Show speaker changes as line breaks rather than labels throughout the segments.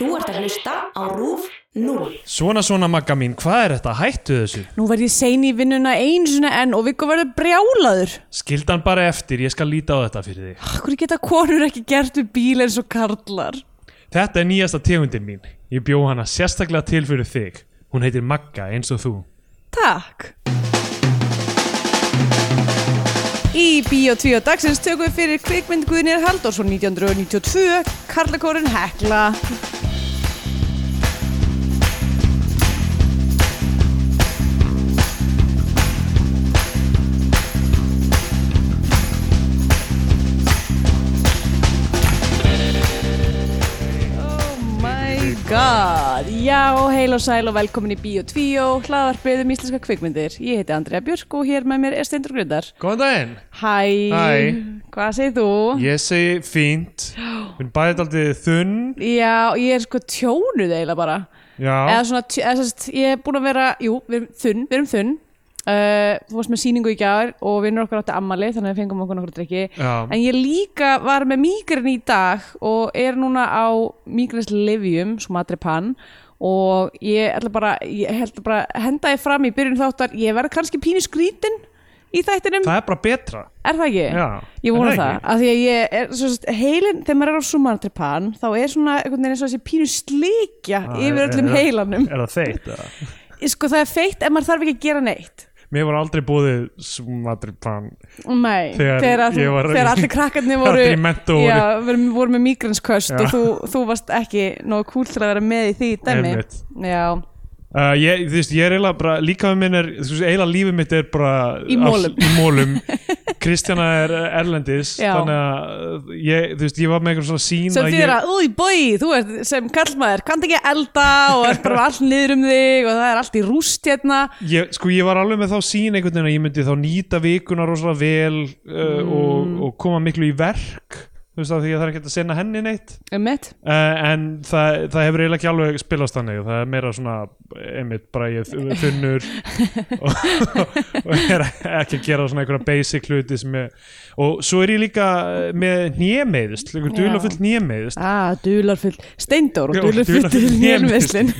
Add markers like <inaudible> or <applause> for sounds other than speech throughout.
Þú ert að hlusta á RÚF 0.
Svona svona magga mín, hvað er þetta? Hættu þessu.
Nú verð ég sein í vinnuna einu sinni enn og Viggo verður brjálaður.
Skildan bara eftir, ég skal líta á þetta fyrir þig.
Akkur geta konur ekki gert við bíl eins og karlar.
Þetta er nýjasta tegundin mín. Ég bjó hana sérstaklega til fyrir þig. Hún heitir Magga eins og þú.
Takk. Í Bíó 2 dagsins tökum við fyrir kvikmynd Guðnir Halldórsson 1992, Karlakórin Hekla. Oh my god, já, heil og sæl og velkomin í Bíó 2, hlaðarpið um íslenska kvikmyndir. Ég heiti Andrea Björk og hér með mér er Steindur Grundar.
Góðan daginn.
Hæ,
Hæ.
hvað segir þú?
Ég segi fínt. Minn bæði aldrei þunn.
Já, ég er sko tjónuð eiginlega bara
Já.
eða svona, tj- eða sérst, ég er búin að vera jú, við erum þunn, við erum þunn uh, þú varst með sýningu í gjár og vinnur okkar átti ammali þannig að við fengum okkur nokkur drikki
Já.
en ég líka var með mýgrin í dag og er núna á mýgrins livjum, svo matri pann og ég ætla bara ég held bara að henda ég fram í byrjun þáttar ég verð kannski pínu skrítin í þættinum
Það er bara betra.
Er það ekki?
Já,
Ég vona
er það
það,
ekki?
af því að ég er, svo sagt, heilin, þegar maður er á sumartripan, þá er svona einhvern veginn eins og þessi pínu slikja yfir öllum
Er- er-
heilanum.
Er það þeitt? eða?
Sko það er feitt en maður þarf ekki að gera neitt.
Mér var aldrei búið smadripan.
Nei,
Þegar
að þú-
ég var-
þegar allir krakkarnir voru,
<laughs> Allir í mentó voru.
já, voru, voru með migranskvöst
Já.
og þú, þú varst ekki nógu kúl til að vera með í því dæmi.
Einmitt.
Já,
Uh, ég, þú veist, ég er eiginlega bara, líka minn er, þú veist, eiginlega lífið mitt er bara
Í mólum.
all, í mólum. <laughs> Kristjana er uh, erlendis,
Já.
þannig að uh, ég, þú veist, ég var með einhver svona sín að
sem því
ég,
er að, úi bói, þú ert sem kallmaður, kannst ekki elda og ert
<laughs>
bara með allt niður um þig og það er allt í rúst hérna.
ég, sko, ég var alveg með þá sín einhvern veginn að ég myndi þá nýta vikuna rosalega vel uh,
Mm.
og, og koma miklu í verk, þú veist, af því að það er ekki hægt að senna henni neitt.
Um mitt?
Uh, en það, það hefur eiginlega ekki alveg spilast þannig, það er meira svona, einmitt, bara ég er
<laughs>
þunnur og, og er ekki að gera svona einhverja basic hluti sem ég, og svo er ég líka eh, með nýjameiðist, einhver
Já.
duðlafull nýjameiðist
Ah, dularfull, steindór og
Já,
dularfull
dularfull
nélmiðslin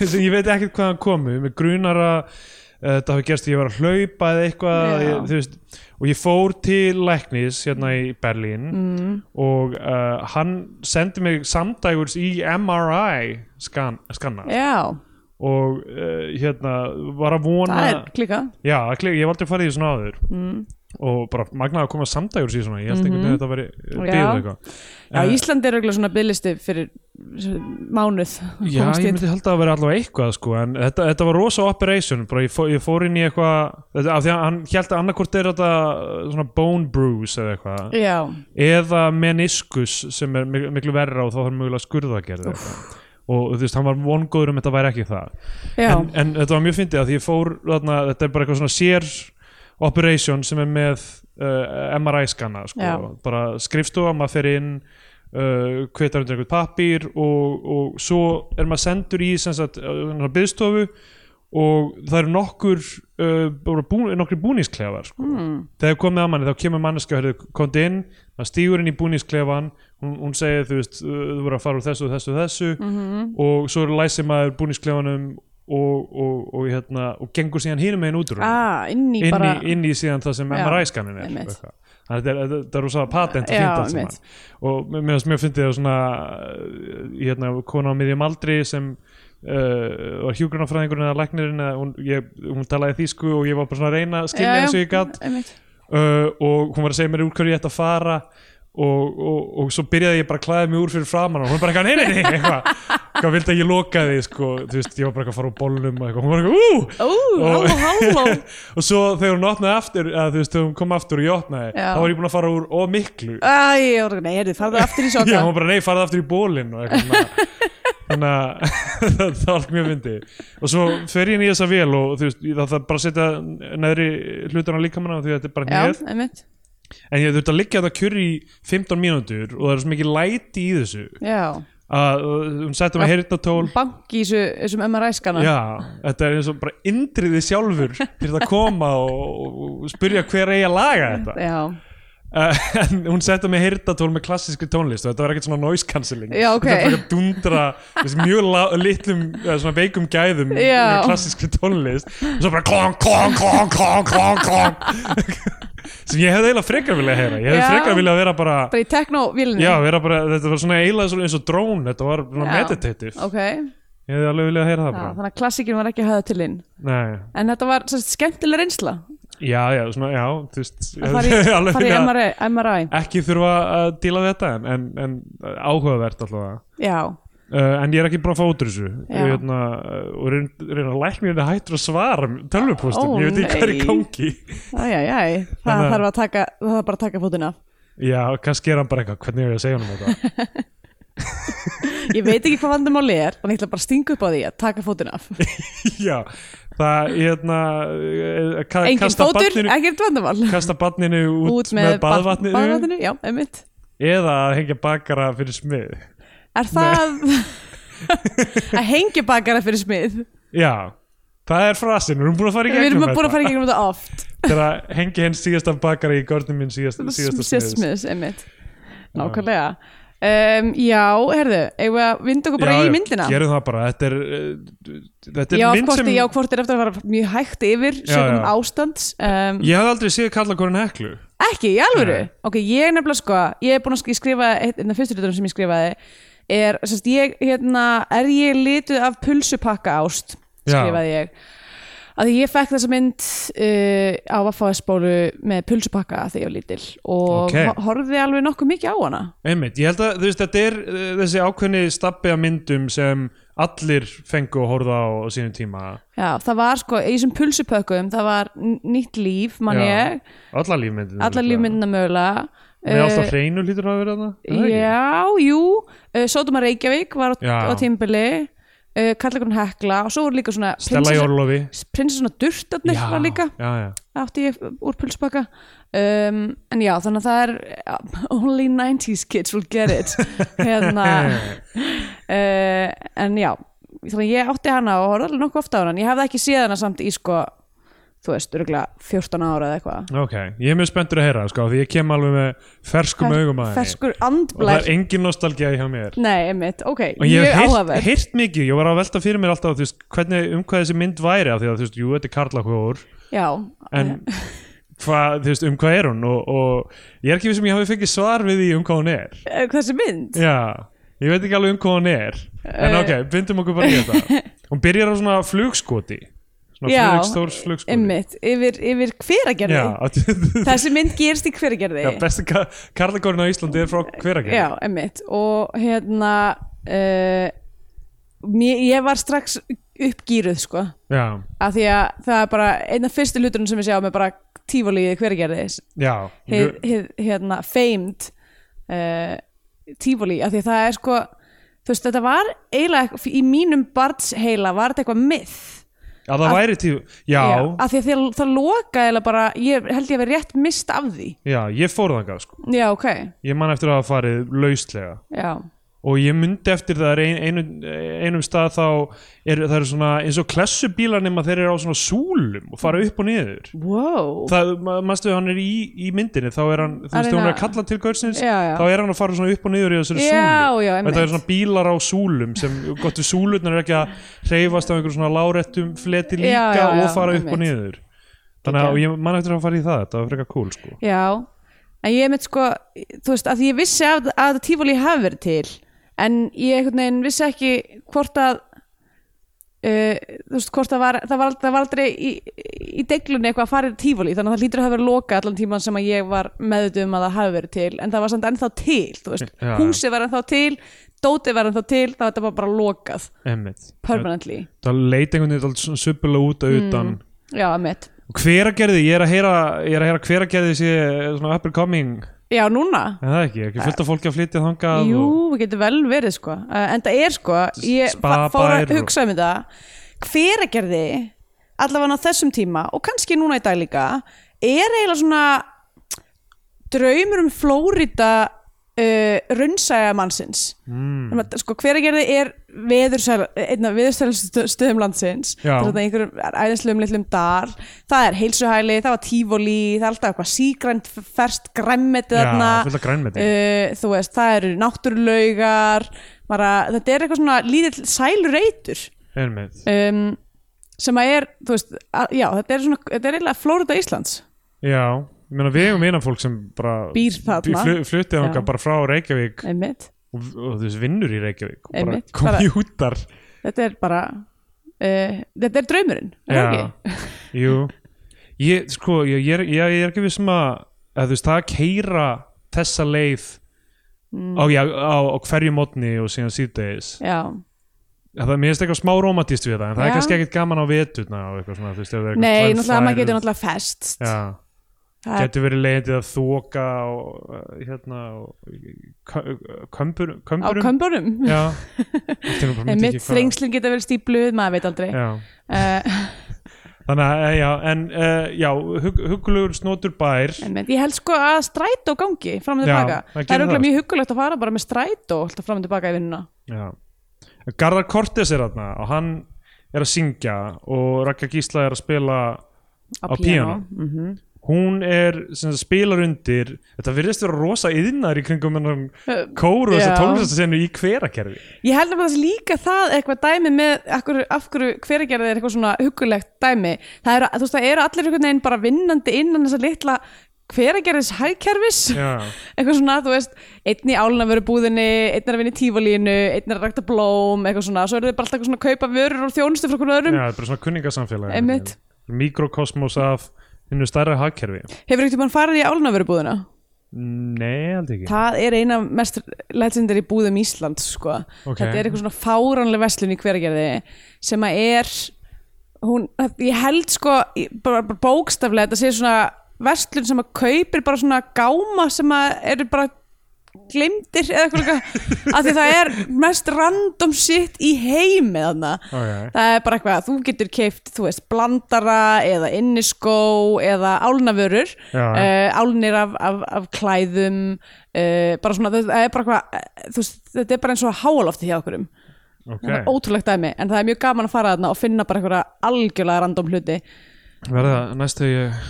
sem <laughs> ég veit ekkert hvaðan komu með grunara uh, það hafi gerst að ég var að hlaupa eða eitthvað
Já.
ég, þú veist, og ég fór til læknis hérna í Berlín mm. og uh, hann sendi mig samdægurs í MRI skan, skanna
Já,
og uh, hérna var að vona
það er Mm. klika
Já, það klik- ég hef aldrei farið í svona áður og bara magnaði að koma samdægur sér svona ég held einhvern veginn að þetta veri
Mhm. Já.
byggð eitthvað
Já,
Eh,
Íslandi er auðvitað svona byðlisti fyrir mánuð
Já, ég myndi held að það veri allavega eitthvað sko, en þetta, þetta var rosa operation bara ég, fó, ég fór inn í eitthvað þetta- af því að hann held að annarkvort er þetta uh, svona bone bruise eða eitthvað
Já,
eða meniskus sem er mik- miklu verra og þá þarf mögulega skurðagerð eitthvað. og þú veist, hann var vongóður um þetta væri ekki það
já,
en, en þetta var mjög fyndið að því ég fór þarna, þetta er bara eitthvað svona sér operation sem er með uh, MRI skanna sko.
Já.
bara skrifstofa, maður fer inn uh, kvetar undir einhvern pappír og, og svo er maður sendur í sem sagt, uh, byðstofu og það eru nokkur uh, bara bú, nokkur búningsklefar sko.
Hmm.
mm. þegar komið að manni þá kemur manneska hörðu, komd inn, maður stígur inn í búningsklefan hún, hún segir þú veist uh, þú voru að fara úr þessu og þessu og þessu
Mhm.
og svo læsir maður búningsklefanum og, og, og, hérna, og gengur síðan hinum megin út úr honum.
ah, inn í
inn,
bara
í, inn í síðan það sem
Já,
MRI-skannin er
einmitt.
eitthvað. Þannig að þetta er, þetta er- þetta er rosa patent og
Já,
fínt allt
einmitt.
saman og mér- mér finnst mjög fyndið að svona uh, hérna, kona á miðjum aldri sem uh, var hjúgrunafræðingurinn eða læknirinn eða hún, ég, hún talaði þýsku og ég var bara svona að reyna að skilja
Já, já,
eins og ég gatt
einmitt.
uh, og hún var að segja mér úr hverju ég ætti að fara og, og, og svo byrjaði ég bara að klæða mig úr fyrir framann og hún bara eitthvað, nei, nei, nei, eitthvað hvað vildi að ég loka því, sko, þú veist, ég var bara eitthvað að fara úr bólnum og eitthvað, hún var eitthvað,
Ó,
Og-
háló, háló
ú og svo þegar hún opnaði aftur, að, þú veist, þegar hún kom aftur og ég opnaði,
Já.
þá var ég búin að fara úr og miklu,
Æ, ég var ekki, nei, heyrðu, farðu aftur í
<laughs> já,
soka
hún var bara, nei, farið aftur í bólinn og eitthvað svona. þannig að <laughs> það, það var allt mjög myndi og svo fer ég inn í þessa vél og þú veist, það, það bara að setja neðri hlutana líkamanna því að þetta er bara
Já,
hnið
einmitt
en ég þurfti að liggja þetta kjur í 15 mínútur og það er svo mikið læti í þessu
Já,
að uh, hún setja mig heyrnatól
banki í þessu, þessum MRI-skana
já, þetta er eins og bara indriði sjálfur til það að koma og, og spyrja hver eigi að laga þetta
já,
uh, <laughs> en hún setta mig hirtatól með klassísku tónlist og þetta var ekkert svona noise cancelling
Já, ok.
þetta var ekki að dundra þessi, mjög la- litlum, eða svona veikum gæðum
Já.
með klassísku tónlist og svo bara klong, klong, klong, klong, klong, klong <laughs> sem ég hefði eiginlega frekar viljað heyra ég hefði
Já.
frekar viljað vera bara
bara í tekno-vílinni
já, vera bara, þetta var svona eiginlega svona eins og drone þetta var svona
Já.
meditative
ok,
ég hefði alveg viljað heyra það
já,
bara
þannig að klassikin var ekki höfð til inn
Nei,
en þetta var sem sagt, skemmtileg reynsla
já, já, svona, já, þú veist <laughs>
að fara í,
alveg
fara í
viljað-
MRI, MRI.
ekki þurfa að díla við þetta en, en, en áhugavert allavega
já,
uh, en ég er ekki búin að fá út úr þessu
Já.
hérna, uh, og reyna, reyna læknirinn er hættur að svara tölvupostum,
Ó,
ég veit ekki hvað er í
nei.
gangi
æj, æj, það
Þannig að-
þarf að taka það þarf bara að taka fótinn af
já, kannski er hann bara eitthvað hvernig er ég að segja honum
<laughs>
þetta
ég veit ekki hvað vandamáli er þannig ég ætla bara að stinga upp á því að taka fótinn af
já, það, hérna eh, ka,
engin
kasta
fótur,
barninu-
ekkert vandamál
kasta barninu út,
út með, með
baðvatninu
baðvatninu já, einmitt
eða að hengja bakara fyrir smið
er það
<laughs>
að hengja bakara fyrir smið
já, það er frasin, við erum búin að fara í
við
gegnum
erum búin að
þetta.
fara í gegnum þetta oft
þegar hengi henn síðasta bakari í górnum minn síðasta, síðasta
síðast
smiðs
smiðs, einmitt nákvæmlega um, já, herðu, eigum við að vinda okkur bara í myndina
gerum það bara, þetta er uh, þetta er
já,
mynd
hvort,
sem
já, hvort er eftir að fara mjög hægt yfir
Já,
sögum
já.
ástands um,
ég hafði aldrei séð kalla korin heklu
ekki, í alvöru
Nei.
ok, ég er nefnilega sko, ég er búin að sk- ég skrifa einn af fyrstu litunum sem ég skrifaði er, sérst, ég, hérna, er ég lituð af pulsupakka ást
Já.
skrifaði ég að því ég fekk þessa mynd uh, á Vaffaðsbólu með pulsupakka þegar ég var lítil og
Ok.
okay. horfði alveg nokkuð mikið á hana
einmitt, ég held að þú veist, þetta er uh, þessi ákveðni stabbi af myndum sem allir fengu að horfa á á sínum tíma
Já, það var sko, í þessum pulsupökkum það var n- nýtt líf, mann
Já.
ég
allar lífmyndin
allar lífmyndina mögulega
með
Eh,
alltaf hreinu lítur að vera þarna yeah.
Já, jú, uh, Sótum að Reykjavík var á,
Já.
á tímbili uh, Kallakurinn Hekla og svo voru líka svona
Stella
prinsessa-
Jórlofi
prinsessan á durtarnir
já,
var líka
já, já.
átti ég úr pulspakka um, en já, þannig að það er uh, only 90s kids will
<laughs>
get it hérna uh, en já, þannig að ég átti hana og horfði alveg nokkuð ofta á hana en ég hefði ekki séð hana samt í sko þú veist, örgulega 14 ára eða eitthvað
ok, ég er mjög spenntur að heyra sko, því ég kem alveg með ferskum augum að henni
ferskur
og það
andblær
er engin nostalgía hjá mér
Nei, einmitt, ok,
og ég
mjög
hef heyrt,
áhugaverð
heyrt mikið, ég var að velta fyrir mér alltaf þú veist, hvernig, um hvað þessi mynd væri af því að þú veist, jú, þetta er karlakóður
Já,
en <laughs> hvað, þú veist, um hvað er hún og, og ég er ekki við sem ég hafi fengið svar við því um hvað hún er
eh, hversu mynd?
já, ég veit ekki alveg um hvað hún er en ok,
Eh.
bindum okkur bara í
<laughs>
þetta hún byrjar á svona flugskoti svona
Já,
flugstórs flugskoti
Einmitt, yfir, yfir hveragerði
já, <laughs> að-
Þessi mynd gerist í hveragerði
já, besti ka karlakóðurinn á Íslandi er frá hveragerði
Já, emmitt og hérna uh, mér, ég var strax uppgýruð sko
já,
af því að það er bara einn af fyrstu hlutunum sem ég sjá með bara tífólíði hvergerði
já.
hið, hið, hérna, famed uh, tífólí af því að það er sko þú veist þetta var eiginlega í mínum barnsheila var þetta eitthvað myth
að það væri tíu já,
af því að það, það loka eiginlega bara ég held ég að vera rétt mist af því
já, ég fór þangað sko
já ok,
ég man eftir að hafa farið lauslega
já
og ég myndi eftir það er ein, einu, einum stað þá er, það eru svona eins og klessubílar nema þeir eru á svona súlum og fara upp og niður
wow,
það, ma- manstu hann er í, í myndinni þá er hann, þú veist, þegar hún er að
reyna-
kalla til gaursins
Já, já.
þá er hann að fara svona upp og niður í þessari
Já,
súlu
já,
Og þetta
einmitt.
er svona bílar á súlum sem, gott við súlurnar er ekki að hreyfast á einhverjum svona lárettum fleti líka
Já, já, já,
og fara upp og
einmitt.
niður þannig að
Geggjað.
ég man eftir að fara í það þetta var frekar cool sko
Já, en ég mitt sko þú veist, að ég vissi að, að tífóli hafi verið til, en ég einhvern veginn vissi ekki hvort að uh, þú veist, hvort að var, það, var, það var aldrei í, í deglunni eitthvað að fara í tífóli, þannig að það lítur að hafa verið loka allan tíman sem að ég var meðvituð um að það hafi verið til, en það var samt ennþá til þú veist,
Já.
húsið var ennþá til dótið var ennþá til, það var þetta bara, bara lokað
Einmitt.
permanently,
það leit einhvern veginn alltaf svona subbilega út að utan
já, að mitt
Hveragerði, ég er að heyra, ég er að heyra hveragerði sé svona up and coming
Já, núna?
en það ekki, ekki fullt af fólki að flytja þangað
Jú,
og,
við getum vel verið sko uh, en það er sko, ég fa-
Spabær
fór að
og-
hugsa um þetta hveragerði, allavega á þessum tíma og kannski núna í dag líka er eiginlega svona draumur um Flórida uh, raunsæja mannsins
mm.
mm. sko, hveragerði er veðursæl, einn af veðursælustöðum landsins
Já.
það er þetta einhverjum æðislegum litlum dal það er heilsuhæli, það var tífóli það er alltaf eitthvað sígrænt, ferskt græmmeti
Já,
þarna
fullt af grænmeti
uh, þú veist, það eru náttúrulaugar bara, þetta er eitthvað svona lítill sælureitur
Einmitt.
um, sem að er, þú veist að, já, þetta er svona, þetta er eiginlega Flórida Íslands
Já, ég meina við eigum einan fólk sem bara
býr
Við
þarna,
flu- fluttið
Já.
þangað bara frá Reykjavík
einmitt
og, og þú veist vinnur í Reykjavík og bara
Einmitt, bara-
komjútar
þetta er bara uh, þetta er draumurinn, er það ekki?
Jú Ég, sko, ég, ég, er- ég, ég er ekki vissum að, að þú veist, það að keira þessa leið
Mm.
á, já, á, á hverju mótni og síðan síðdegis
já,
að það mér finnst eitthvað smá romantist við það en það er
Já.
kannski ekkert gaman á veturna og eitthvað svona, þú veist, ef það er eitthvað
nei,
tvær
náttúrulega maður
þvær-
getur náttúrulega fest
Já,
það er,
getur verið leiðandi að þoka og uh, hérna og kö- kömbur,
á
kömburum
kömbunum <laughs>
Já, Allt í einu bara myndi
einmitt,
ekki hvað-
þrengslinn geta verið stípluð maður veit aldrei
Já.
uh, <laughs>
Þannig að, eh, já, en uh, já, hug, huglugur snotur bær
einmitt, ég held sko að strætó gangi fram og
Já,
tilbaka,
það
það,
gerir
er
það,
auðvitað mjög huggulegt að fara bara með strætó alltaf fram og tilbaka í vinnuna
já. Garðar Kortes er þarna og hann er að syngja og Ragga Gísla er að spila Á píanó. Mm.
Mhm.
hún er, sem sagt, spilar undir þetta virðist vera rosa yðnar í kringum hennan
Uh,
kóru og þess
já.
að tónlistasennu í hverakerfi
Ég held að maður líka það eitthvað dæmi með af hverju, af hverju hveragerðið er eitthvað svona huggulegt dæmi. Það eru, þú veist, það eru allir einhvern veginn bara vinnandi innan þessa litla hveragerðis hægkerfis.
já,
<laughs> Eitthvað svona, þú veist, einn í álunaföru búðinni, einn er að vinna í tífalínu, einn er að rækta blóm, eitthvað svona. Svo eru þið bara alltaf eitthvað svona að kaupa vörur og þjónustu frá hvernig
já,
öðrum.
það er bara svona kunningasamfélag
Einmitt.
mikrokosmos af hinnu stærra hagkerfi
Hefur ekkert mann farið í álunaföru búðina?
nei, aldrei ekki
Það er eina af mest legendir í búðum Íslands sko.
Ok.
Þetta er eitthvað svona fáránlega verslun í hverjarði sem að er hún, ég held sko ég- bara, bara bókstaflega þetta sé svona verslun sem að kaupir bara svona gáma sem að eru bara glimtir eða eitthvað af því það er mest random shit í heimi þarna
Ok.
það er bara eitthvað að þú getur keift þú veist, blandara eða inniskó eða álnavörur
Já.
uh, álnir af, af, af klæðum uh, bara svona, það það er bara eitthvað eh, þú veist, þetta er bara eins og háalofti hjá okkurum það
okay.
er ótrúlegt dæmi, en það er mjög gaman að fara þarna og finna bara eitthvað algjörlega random hluti
verða næstu ég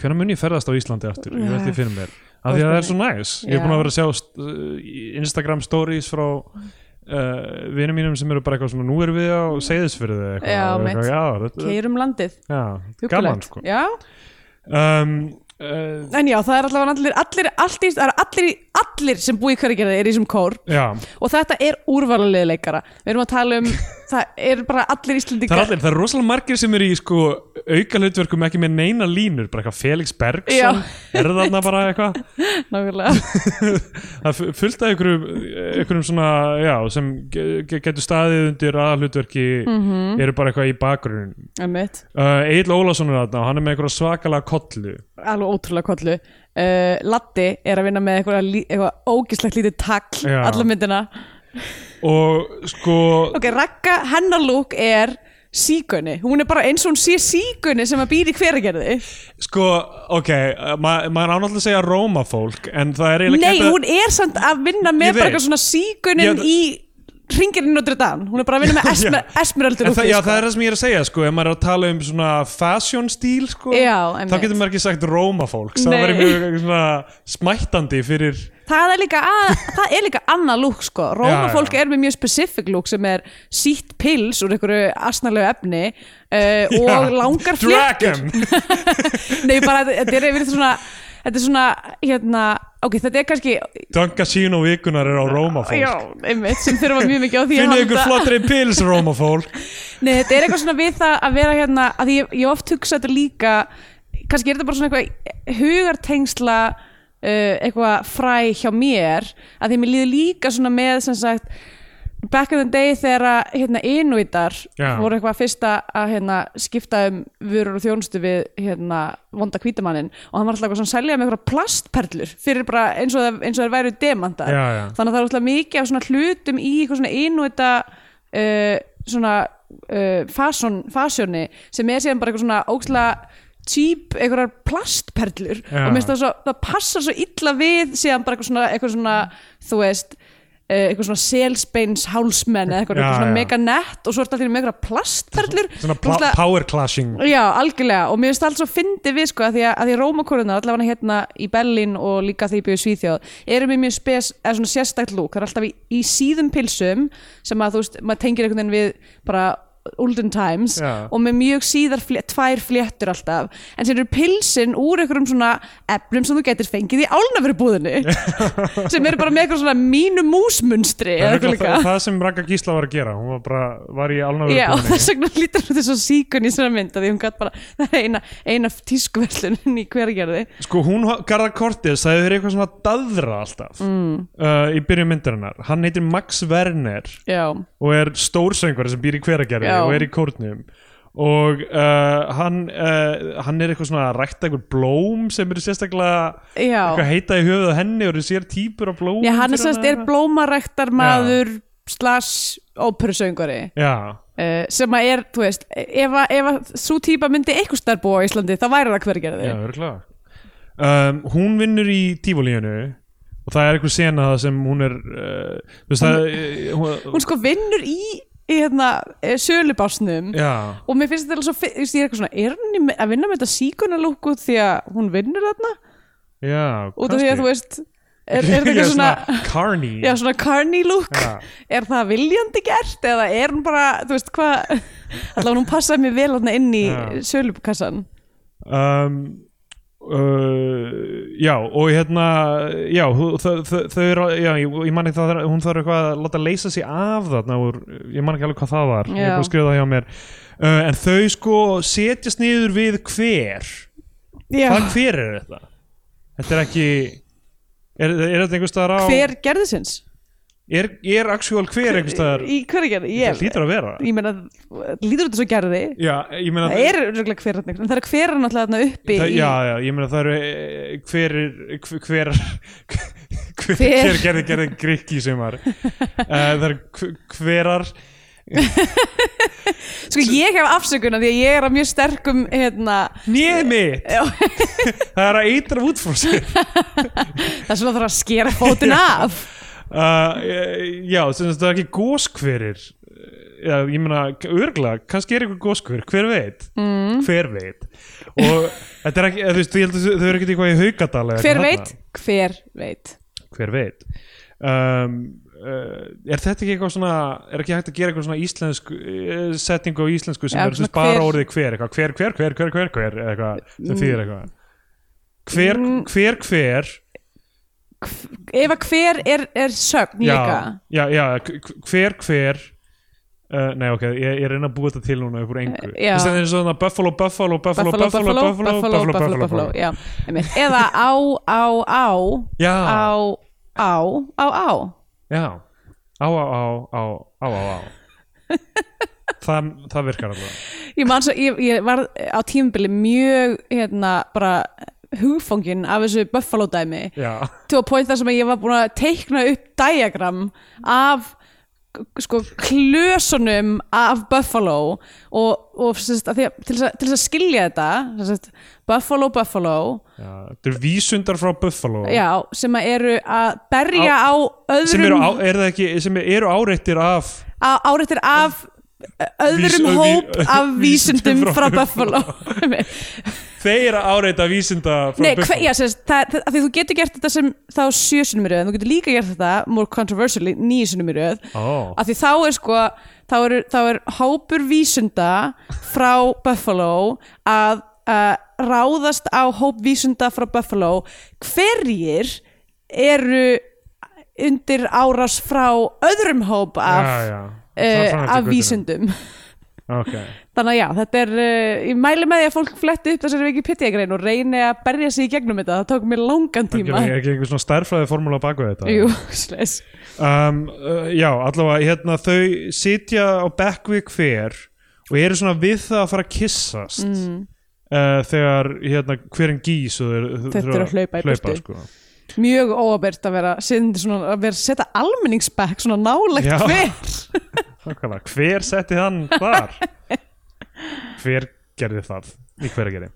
hvenær mun ég ferðast á Íslandi aftur ég veldi fyrir mér, af því að það er svo næs ég er
Já.
búin að vera að sjá st- uh, Instagram stories frá uh, vinum mínum sem eru bara eitthvað svona nú erum við á Seyðisfyrði eða eitthvað,
Já,
Og
mitt.
eitthvað, já, þetta,
keirum um landið,
já gaman
huggulegt
sko
já.
um, uh,
en já, það er allavega allir, allir, allir, allir, allir, allir sem búi í hverjargerði er í þessum kór
já,
og þetta er úrvalarlega leikara við erum að tala
<laughs>
um, það er bara allir
það er
íslendingar
allir, það er rosalega margir sem eru í sko auka hlutverkum ekki með neina línur, bara eitthvað Felix
Já.
Bergson er þarna bara eitthvað <laughs>
<laughs> nákvæmlega,
það er fu- fullt af einhverjum, einhverjum svona, já, sem ge- ge- getur staðið undir aðhlutverki
Mhm.
eru bara eitthvað í bakgrunn
einmitt
uh, Egil Ólafsson er þarna og hann er með einhverja svakalega kollu
alveg ótrúlega kollu uh, Latti er að vinna með eitthvað, lí- eitthvað ógislegt lítið tagl
Já.
alla myndina
og sko
ok, Ragga, hennar lúk er sígunni, hún er bara eins og hún sé sígunni sem að býr í hveragerði
sko, ok, uh, ma maður ánáttúrulega að segja Róma fólk, en það er eiginlega
nei,
ekki hægt að-
hún er samt að vinna
Ég
með
veit.
bara eitthvað svona
Já,
sígunin
það-
í ringirinn Notre Dame, hún er bara að vinna með esme,
<laughs> Já.
esmeraldur
En það,
lúkið,
já,
sko.
það er það sem ég er að segja, sko, ef maður er að tala um svona fashion stíl, sko,
Já,
þá
einmitt.
getur maður ekki sagt rómafólk, það
Nei.
verður mjög eh, svona smættandi fyrir,
það er líka, að, það er líka annað lúk sko,
Já, já.
rómafólk er með mjög specific lúk sem er sítt pils úr einhverju asnalegu efni uh, og langar fléttur
Dragon,
Nei, bara þetta- þetta er yfir svona Þetta er svona, hérna Ok, þetta er kannski
Dunkasín og vikunar er á rómafólk
Já, einmitt, sem þurfa mjög mikið á því að
Finnið
halda.
ykkur flottri pils, rómafólk
Nei, þetta er eitthvað svona við það að vera hérna að ég, ég oft hugsa þetta líka kannski er þetta bara svona eitthvað hugartengsla uh, eitthvað fræ hjá mér að því að mér líður líka svona með sem sagt back in the day þegar að, hérna innvítar
Já.
voru eitthvað fyrst að- að hérna, skipta um vörur og þjónustu við hérna, vonda hvítamannin og hann var alltaf eitthvað svona að selja með eitthvað plastperlur fyrir bara eins og, það- eins og þeir væru demandar
Já, já.
þannig að það er alltaf mikið af svona hlutum í eitthvað svona innvita uh, svona uh, fasjón, fasjóni sem er síðan bara eitthvað svona óksla cheap einhverjar plastperlur
Já.
og mér finnst það svo, það passar svo illa við síðan bara eitthvað svona, eitthvað svona þú veist, eh, eitthvað svona selsbeins hálsmenn eða eitthvað,
Já,
eitthvað svona
já.
mega nett og svo er þetta allir með einhverjar plastperlur
svona pla-
Ógeðslega-
power clashing
Já, algjörlega og mér finnst það alls svo fyndi við sko að því að, að því rómakorunar allavega hérna í Berlín og líka því byrju Svíþjóð eru mér mjög spes, eða svona sérstækt lúk það er alltaf í, í síðum pilsum sem að þú veist, maður tengir einhvern veginn við bara olden times
Já.
og með mjög síðar flé, tvær fléttur alltaf en sem eru pilsin úr einhverjum svona efnum sem þú getur fengið í álnafyrubúðinni sem eru bara með eitthvað svona mínu músmunstri eða
það,
eitthvað líka
<laughs> það, það sem Raka Gísla var að gera hún var bara, var í alnafur
Já, og þess vegna lítur hún þessu síkun í svona mynd af því hún gætt bara, <laughs> það er eina, eina tískuverlunin í hvergerði
Sko hún, Garðar Cortis, það hefur eitthvað svona daðra alltaf mm. uh, í byrjun myndarinnar. Hann heitir Max Werner
Já,
og er stórsöngvari sem býr í hveragerði
Já.
og er í kórnum og uh, hann, uh, hann er eitthvað svona að rækta einhver blóm sem eru sérstaklega eitthvað
já
heita í höfuð á henni og eru sér típur af blóm
Já, hann er sérst, er blómaræktar maður slash óperusöngari
Já,
uh, sem að er, þú veist, ef að, ef að svo típa myndi einhvers þar búa á Íslandi þá væri það hvergerði
já, örgulega um, Hún vinnur í tífólíinu og það er eitthvað sena það sem hún er uh, þú veist það eh, hún,
Hún sko vinnur í, í hérna, eh, sölubásnum
Já
og mér finnst þetta alveg svo, fi- þú veist, ég er eitthvað svona, er hún í- að vinna með þetta síkunalúku því að hún vinnur þarna?
Já,
Út af því að þú veist,
<laughs>
er, er þetta
Já,
eitthvað svona...
Carney
Já, svona carny look
Já.
Er það viljandi gert eða er hún bara, þú veist hvað Allá hún passaði mér vel hann inn í
Já.
sölupkassan
um, uh, Já, og hérna Já, hú- þau- þau þau eru Já, ég ég man ekki það er- Hún þarf eitthvað að láta leysa sig af þarna úr, Ég man ekki alveg hvað það var Ég er
Já.
búin að skrifa það hjá mér uh, En þau sko setjast niður við hver
Já,
Hvað hver er þetta? Þetta er ekki Er, er þetta einhver staðar á
hver gerðisins?
Er, er actual hver einhver staðar
Í hverju gerði?
Þetta
Ég,
hlýtur að vera
ég meina, lítur þetta svo gerði
Já, ég meina
Það er örgulega hver hann Það er hver hann alltaf þarna uppi
það,
í
já, já, ég meina það eru eh, hver er, hver hver, hver,
Hver?
hver gerði gerði grikki sem var uh, það eru hv- hverar
Sko ég hef afsökuna því að ég er að mjög sterkum hérna,
nemi það er að eitra út frá sér
það er svona þarf að skera fótinn af
uh, eh, já, sem sagt það er ekki góskverir já, ég meina, örgla kannski er eitthvað góskver, hver veit mm. hver veit og þetta er ekki, eh, þú veist, ég held að þau- þau eru ekki eitthvað í haugadal eða
Hver
eitthvað
veit?
þarna.
Hver veit?
hver veit um, uh, er þetta ekki eitthvað svona er ekki hægt að gera eitthvað svona íslensk uh, setningu á íslensku sem
Já,
er svona
svona
bara
hver- Mm.
orðið hver eitthvað, hver, hver, hver, hver, hver, hver eða eitthvað, sem þýðir eitthvað hver, hver, hver
Ef að hver er, er sögn líka
já, já, já, hver, hver, hver Uh, nei ok, ég, ég reyna að búa þetta til núna upp úr engu.
Eh, já.
Þess að það er svona Buffalo, Buffalo, Buffalo,
Buffalo, Buffalo, Buffalo, Buffalo, Buffalo, Buffalo, já, einmitt. eða á, á, á,
Já.
á, á, á, á,
Já, á, á, á, á, á, á, á.
<laughs>
Það, það virkar alveg.
ég man svo, ég, ég var á tímabili mjög, hérna, bara hugfóngin af þessu Buffalo dæmi,
Já.
til að pointa sem að ég var búin að teikna upp diagram af sko klösunum af Buffalo og, og sérst, að því, að- til, þess að, til þess að skilja þetta sérst, Buffalo, Buffalo
Já, þetta eru vísundar frá Buffalo
já, sem að eru að berja á, öðrum
sem, eru á, er það ekki, sem eru áreittir af
á- áréttir af öðrum
Vís-
hóp
ví-
af
<laughs>
vísundum
vísindum <laughs> frá
frá Buffalo
þeir eru áreitta vísunda frá
Nei, hver,
Buffalo
já, sérst, það, það, af því þú getur gert þetta sem þá sjö sinnum í röð, en þú getur líka gert þetta more controversially, níu sinnum í röð
Ó.
af því þá er sko þá er, þá er hópur vísunda frá Buffalo að uh, ráðast á hóp vísunda frá Buffalo hverjir eru undir árás frá öðrum hóp af,
Já, já. Fram- fram
Uh,
eftir
af
götunum.
vísundum
Ok.
Þannig að já, þetta er, uh, ég mæli með því að fólk fletti upp þessari Wikipedia-grein og reyni að berja sig í gegnum þetta, það tók mér langan
Það
tíma.
er ekki einhver svona stærfræði formúla baku þetta
Jú, slæs.
um, uh, Já, allavega hérna, þau sitja á bekk við hver og eru svona við það að fara að kyssast
Mm.
uh, þegar hérna, hverjum gís og þeir,
Þetta eru að hlaupa í burtu.
sko.
Mjög óabert að vera, sinn- svona, að vera setja almenningsbekk svona nálegt
Já.
hver.
Nákvæmlega, hver setti hann þar? hver gerði það? Í hver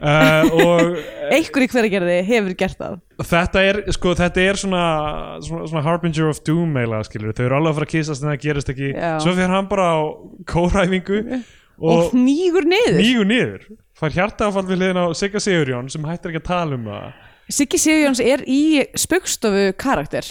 að uh, og
einhver í hveragerði hefur gert það
þetta er, sko, þetta er svona, svona, svona Harbinger of Doom eiginlega, skilur, þau eru alveg að fara að kissast en það gerist ekki,
Já.
svo fyrir hann bara á kóræfingu
og
og
nýgur niður
nýgu niður fær hjartaáfall við hliðin á Sigga Sigurjón sem hættir ekki að tala um það
Siggi Sigurjóns er í spöggstofu karakter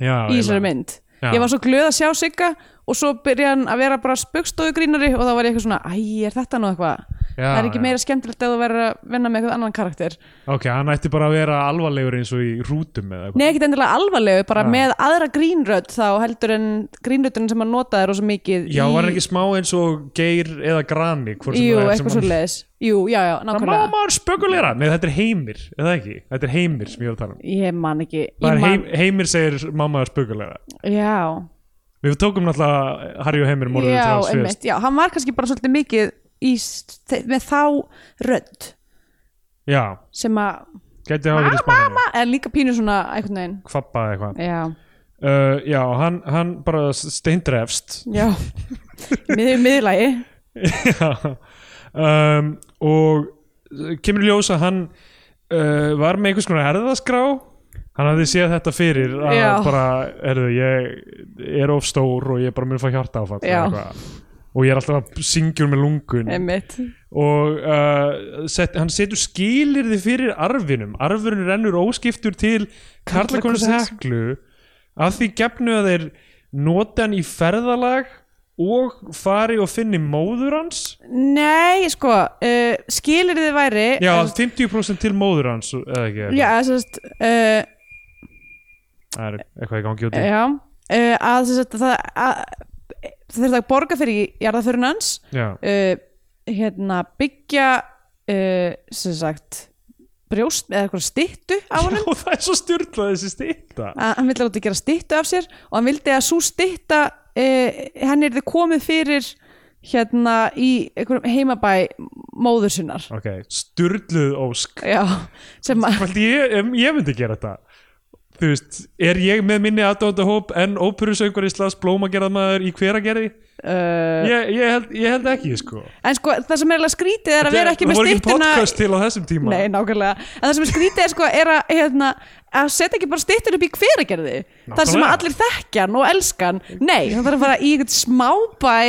Já, eiginlega.
í þessari mynd
Já.
ég var svo glöð að sjá Sigga og svo byrja hann að vera bara spöggstofugrínari og þá var ég eitthvað svona, æ, er þetta nú eitthvað
Já,
það er ekki
já.
meira skemmtilegt að þú verður að vinna með eitthvað annan karakter
ok, hann ætti bara að vera alvarlegur eins og í rútum eða eitthvað
Nei, ekkert endilega alvarlegu, bara
Já.
með aðra grínrödd þá heldur en grínröddurinn sem hann notaði rosa mikið
Já,
í...
var hann ekki smá eins og Geir eða Grani hvort sem
Jú,
það er sem
eitthvað svo
hann-
leiðis Jú, já, já,
Það má
nákvæmlega
maður spökulera Nei, þetta er heimir, eða ekki? Þetta er heimir sem ég var að tala um
Ég man ekki ég
Það er
man...
heim, Heimir segir mamma er spökulera
Já,
Við tókum náttúrulega Harry og Heimir morðið
já,
til hans fyrst
einmitt Já, hann var kannski bara svolítið mikið í... s- þe- með þá rödd
Já,
sem að
gæti hafa verið spáðinu
Ma- eða líka pínu svona einhvern veginn
Kvappa eða eitthvað
Já,
uh, Já, hann, hann bara steindrefst <laughs>
já Miður miðlægi
Já. um, og kemur í ljós að hann uh, var með einhvers konar herðaskrá hann hafði séð þetta fyrir að
Já.
bara, herðu, ég er of stór og ég er bara mun að fá hjarta áfall
Já.
og ég er alltaf að syngjur með lungun
Einmitt
og uh, set, hann setur skilirði fyrir arfinum arfurinn rennur óskiptur til karlakonus
Karlakonungs
heklu að því gefnu að þeir nota hann í ferðalag og fari og finni móður hans
Nei, sko, uh, skilir þið væri
já,
en-
50% til móður hans eða ekki, eða
Já, sérst, uh,
það er eitthvað í gangi út í
já uh, að sérst, það, að, það þurfti að borga fyrir jarðaförun hans
já,
uh, hérna byggja uh, sem sagt brjóst eða eitthvað styttu
<laughs>
á Ah. hann
og það er svo styrla þessi stýta
að hann vildi láta gera styttu af sér og hann vildi að svo stytta uh, henni er þið komið fyrir hérna í einhverjum heimabæ móður sinnar
ok, styrluð ósk
já, sem að
Fældi, ég, em, ég myndi gera þetta þú veist, er ég með minni aðdóndahóp en óperusöngvar í slags blómagerðamaður í hveragerði
uh,
ég, ég, held, ég held ekki sko
en sko það sem er alveg skrítið er að vera ekki
Það
með
voru ekki
styttuna
podcast til á þessum tíma
Nei, nákvæmlega. En það sem er skrítið er sko er að, hérna, að setja ekki bara styttur upp í hveragerði. Það sem að
Nákvæmlega.
allir þekkjan og elskan. Nei, það þarf að fara í einhvern smábæ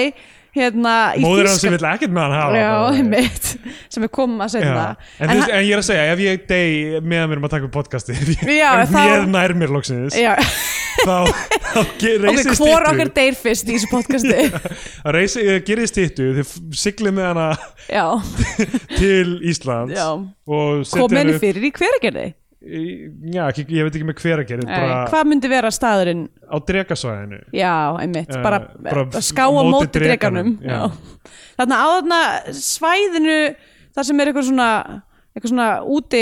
hérna í
Móður hans sem
Þýskalandi.
vill ekkert með hann hafa
Já,
bara.
einmitt, sem við komum að segja
Já.
það.
En, þú veist, en ég er að segja, ef ég dey meðan við erum að taka upp podcasti ef ég
Já,
ef
þá-
ég nær mér loksins
Já, <laughs>
þá, þá ge-
ok,
reisið <laughs>
hvor okkar
stýttu
deyr fyrst í þessu
<laughs>
podcasti?
reisið, gerið stýttu eh, þið siglið með hana <laughs>
Já,
til Íslands
já.
og setja
Komið henni
upp-
fyrir í hveragerði.
í- já, ekki, ég veit ekki með hver að gera
Nei,
bara
Hvað myndi vera staðurinn?
á dregasvæðinu
Já, einmitt,
Eh,
bara,
bara
bara ská á móti dreganum
já.
Þannig að á þarna svæðinu þar sem er eitthvað svona eitthvað svona úti,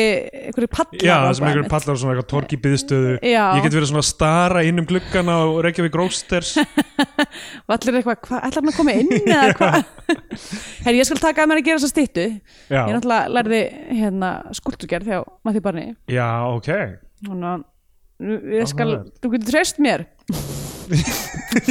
eitthvað
Já,
pallar
það
og
sem
eitthvað,
einhverjum
einmitt.
pallar svona eitthvað torgi byðstöðu
Já.
Ég get verið svona að stara inn um gluggan á Reykjavík
<laughs>
Roasters
og allir eru eitthvað, hvað, ætlar hann að koma inn
<laughs>
eða hvað Herri, ég skal taka að mér að gera þess að styttu
Já.
Ég náttúrulega lærði hérna skuldugerð hjá Matti Barni
Já, ok <laughs>
Þannig að nú- ég skal,
Áhugavert.
þú getur treyst mér <laughs>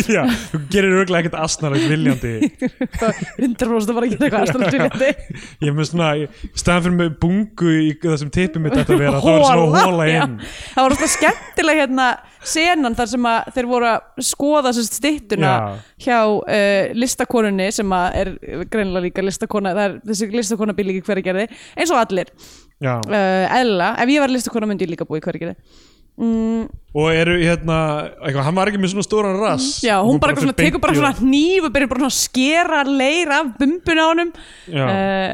Já, þú gerir auðvitað ekkert astnarlegt viljandi
<laughs> hundra rosta bara að gera eitthvað aðstæðan sviljandi
<laughs> Ég er með svona, í staðan fyrir með bungu í það sem tippið mitt ætti að vera Það var svona hóla
já.
inn
það var alltaf skemmtilega hérna senan þar sem að þeir voru að skoða sérst styttuna
Já.
hjá uh, listakonunni sem að er greinilega líka listakona það er, þessi listakona býr líka hverja gerði eins og allir,
Já,
uh, eðla ef ég var listakona myndi ég líka búið hverja gerði mm,
og eru hérna, eitthvað, hann var ekki með svona stóran rass
Mhm. já, hún, bara, bara svona,
fer
tekur bara
beint í
svona
það.
hníf og byrjar bara svona að skera leir af bumbuna á honum
Já.
uh,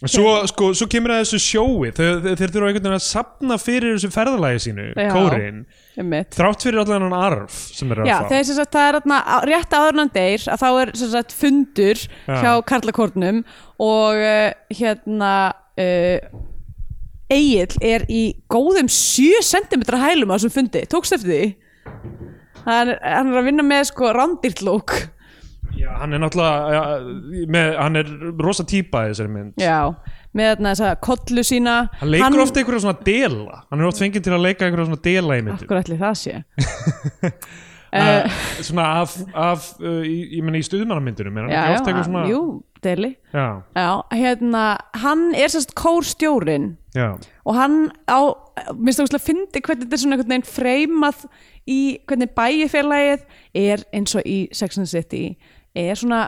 En Svo, sko, svo kemur að þessu sjói Þeir, þeir, þeir þurfa einhvern veginn að sapna fyrir þessu ferðalagi sínu,
Já.
kórin
einmitt
Þrátt fyrir allan hann arf sem er að
Já,
fá
þegar sem sagt það er atna, rétt áðurnan deyr að þá er sem sagt fundur hjá Karlakornum og uh, hérna uh, Egil er í góðum 7 cm hælum á þessum fundi, tókst eftir því hann, er- hann er að vinna með sko rándýrtlók
Já, hann er náttúrulega ja, með, hann er rosa típa í þessari mynd
Já, með þarna þessa kollu sína
hann leikur oft einhverja svona dela hann er oft fengið til að leika einhverja svona dela í myndum
Akkur ætli það sé
<laughs>
Eh,
uh, svona af, af uh, í- ég meina í stuðmannamyndunum er hann
Já,
ekki
já,
oft eitthvað svona
jú, Deli
já,
Já, hérna, hann er sérst kórstjórin
já,
og hann á, minnst það úrslega fyndi hvernig þetta er svona einhvern veginn freymað í hvernig bæifélagið er eins og í Sex and the City er svona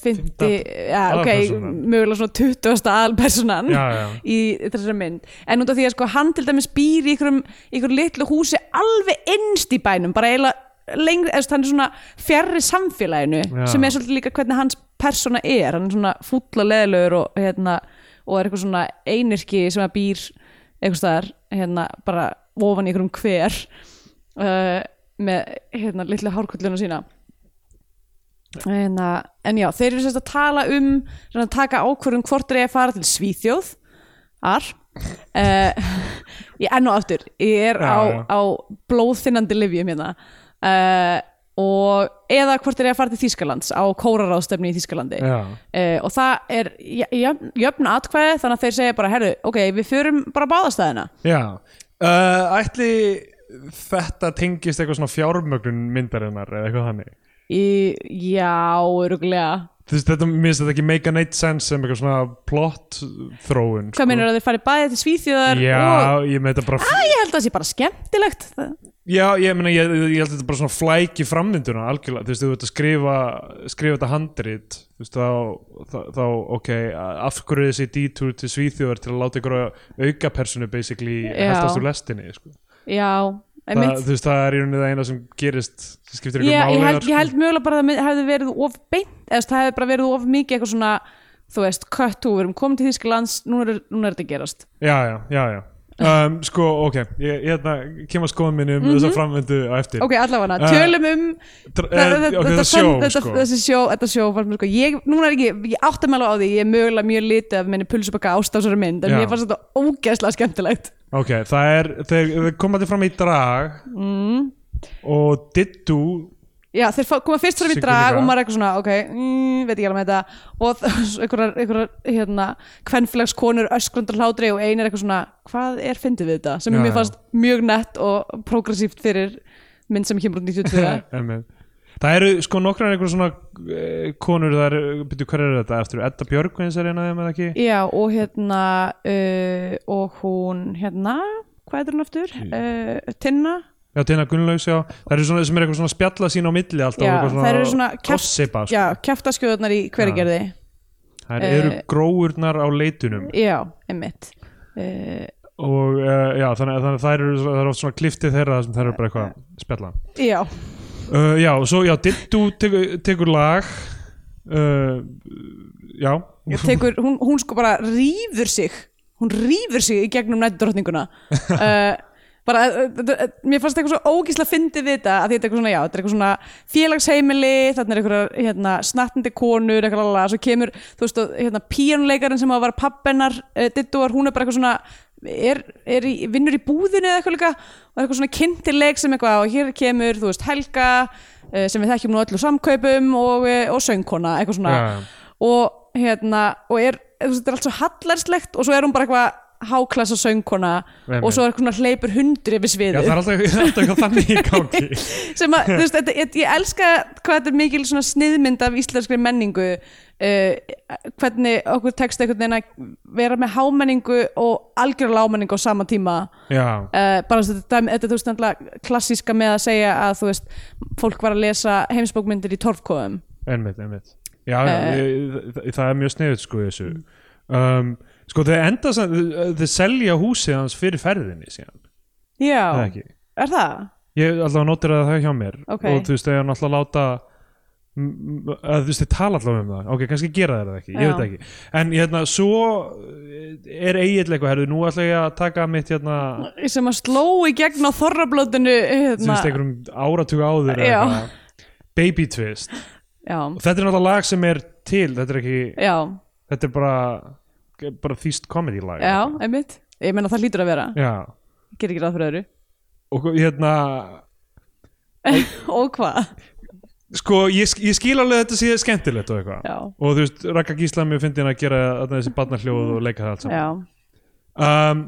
fyndi ja, ok,
aðalpersónan.
mögulega svona 20. aðalpersonan
Já, já.
í þessari mynd en út af því að sko hann til dæmis býr í ykkurum, ykkur litlu húsi alveg innst í bænum, bara eiginlega lengri, eða þú veist, hann er svona fjarrri samfélaginu
Já.
sem er svolítið líka hvernig hans persóna er, hann er svona fúll og leðilegur og hérna, og er eitthvað svona einirki sem að býr eitthvað staðar, hérna, bara ofan í einhverjum hver uh, með, hérna, litlu hárkulluna sína En, að, en já, þeir eru sérst að tala um svona, að taka ákvörðum hvort þeir eru að fara til Svíþjóð ar uh, <laughs> ég enn og aftur ég er
Já,
á,
já.
á blóðþinnandi livjum hérna uh, og eða hvort þeir eru að fara til Þýskalands á kóraráðstefni í Þýskalandi
já,
uh, og það er jöfn, jöfn atkvæði þannig að þeir segja bara herru, ok, við förum bara báðastæðina
já. Uh, ætli þetta tengist eitthvað svona fjármögnun myndarinnar eða eitthvað þannig
í, já, öruglega
Þú veist, þetta minnst þetta ekki make a night sense sem eitthvað svona plot þróun sko.
hvað meinar að þeir fari bæði til Svíþjóðar og
Já, ég með þetta bara
Æ, ég held að það sé bara skemmtilegt
Já, ég meina, ég, ég held að þetta bara svona flæki framvinduna algjörlega, þú veist, þú veit að skrifa skrifa þetta handrit þú veist, þá, þá, þá ok af hverju þessi detour til Svíþjóðar til að láta ykkur auka personu basically
Já.
heldast úr lestinni, sko
Já,
það,
einmitt
þú veist, það er í rauninni það eina sem gerist sem skiptir
Já,
ykkur
ég
máli
held,
þar,
ég held mögulega bara að það mynd- hefði verið of beint eða það hefði bara verið of mikið eitthvað svona þú veist, cut og við erum komin til Þýskalands núna er, núna er þetta að gerast
Já, já, já, já Um, sko, ok, ég, ég hérna kem að skoða minni um þessa framvindu á eftir
Mhm. Ok, allavega,
Eh,
tölum um
Dr-
þe- þe-
eh, ok, þetta
send-
sjó,
þetta-
sko
þessi sjó, þetta sjó fannst mér sko, ég, núna er ekki, ég átti mæla á því ég er mögulega mjög litið af minni pulsupakka ástásara mynd en
Já.
mér fannst þetta ógeðslega skemmtilegt
Ok, það er, þeir, þeir koma þetta fram í drag mm.
Mhm.
og Dittu
Já, þeir fá- koma fyrst fram í
Siggu
drag
líka.
og maður er eitthvað svona, ok, mm, veit ekki alveg með þetta og <laughs> þ- einhverjar, einhverjar, hérna kvenfélagskonur öskrundar hlátri og ein er eitthvað svona, hvað er fyndið við þetta sem
Já,
mér
já.
fannst mjög nett og progressíft fyrir mynd sem kemur
<laughs>
úr 92
eh, Einmitt. Það eru sko nokkrar einhver svona eh, konur það eru, byrju hver er þetta eftir Edda Björgvins er eina af þeim eða ekki
Já, og hérna uh, og hún, hérna hvað er hún aftur? Uh, Tinna
Já, Tina Gunnlaugs, já Það eru svona sem er eitthvað svona spjalla sín á milli alltaf
Já,
og eitthvað
þær eru svona kjaft-
gossipa, sko.
Já, eh, kjaftaskjöðunar í hvergerði
Það eru gróurnar á leitunum
Já, einmitt uh,
og uh, já, þannig, að- þannig að þær eru svona- það eru oft svona kliftið þeirra þar sem þær eru bara eitthvað að spjalla um.
Já,
uh, Já, og svo, já, Dittu tekur, tekur lag uh, Já
tekur, hún, hún sko bara rýfur sig hún rýfur sig í gegnum
<laughs>
nættdrottninguna uh, bara, uh, uh, mér fannst eitthvað svo ógísla fyndið við þetta að þetta er eitthvað svona, já, þetta er eitthvað svona félagsheimili, þarna er eitthvað hérna, snattandi konur, eitthvað lala, svo kemur þú veist, og, hérna, píanuleikarinn sem að var pappennar, uh, dittuar, hún er bara eitthvað svona er, er í, vinnur í búðinu eða eitthvað líka, og er eitthvað svona kynntileik sem eitthvað, og hér kemur, þú veist, Helga uh, sem við þekkjum nú öllu samkaupum og, uh, og söngkona, eitthvað svona
Já, já.
og hérna og er, þú veist, þetta er allt svo hallarslegt og svo er hún bara eitthvað háklassa söngkona
Einmitt.
og svo er eitthvað hleypur hundur yfir
Já,
sviðið
það er alltaf, <laughs> alltaf eitthvað þannig í gangi
<laughs> sem að, þú veist, þetta, ég, ég elska hvað þetta er mikil svona sniðmynd af íslenskri menningu uh, hvernig okkur tekst einhvern veginn að vera með hámenningu og algjör lámenningu á sama tíma
Já,
Uh, bara þú veist, þetta, þetta þú veist náttúrulega klassíska með að segja að þú veist fólk var að lesa heimsbókmyndir í torfkóðum
einmitt, einmitt Já, já ég, það- það er mjög sniðut sko í þessu um, Sko þau enda sem, þau- þau selja húsið hans fyrir ferðinni síðan, eða
já,
ekki
er það?
Ég alltaf notir að það hjá mér
Ok.
og þú veist, þau er náttúrulega að láta m- m- að þú veist, þau tala allavega um það ok, kannski gera þeir það ekki, ég
Já.
veit það ekki en hérna, svo er eiginlega eitthvað, herðu, nú ætla ég að taka mitt hérna,
sem að sló í gegn á þorrablótinu
þú veist,
hérna.
einhverjum áratuga áður
Já.
eða eitthvað. baby twist
já,
og þetta er náttúrulega lag sem er til þetta er ekki,
já,
þetta er bara bara þýst comedy lag
já, einmitt ég meina það hlýtur að vera,
já.
ger ekki ráð fyrir öðru
og hérna
<laughs> og hvað,
sko ég, sk- ég skil alveg að þetta sé skemmtilegt og
Já.
eitthvað og þú veist Raka Gísla mjög fyndin að gera þarna þessi barnahljóð og leika það allt
já,
saman um,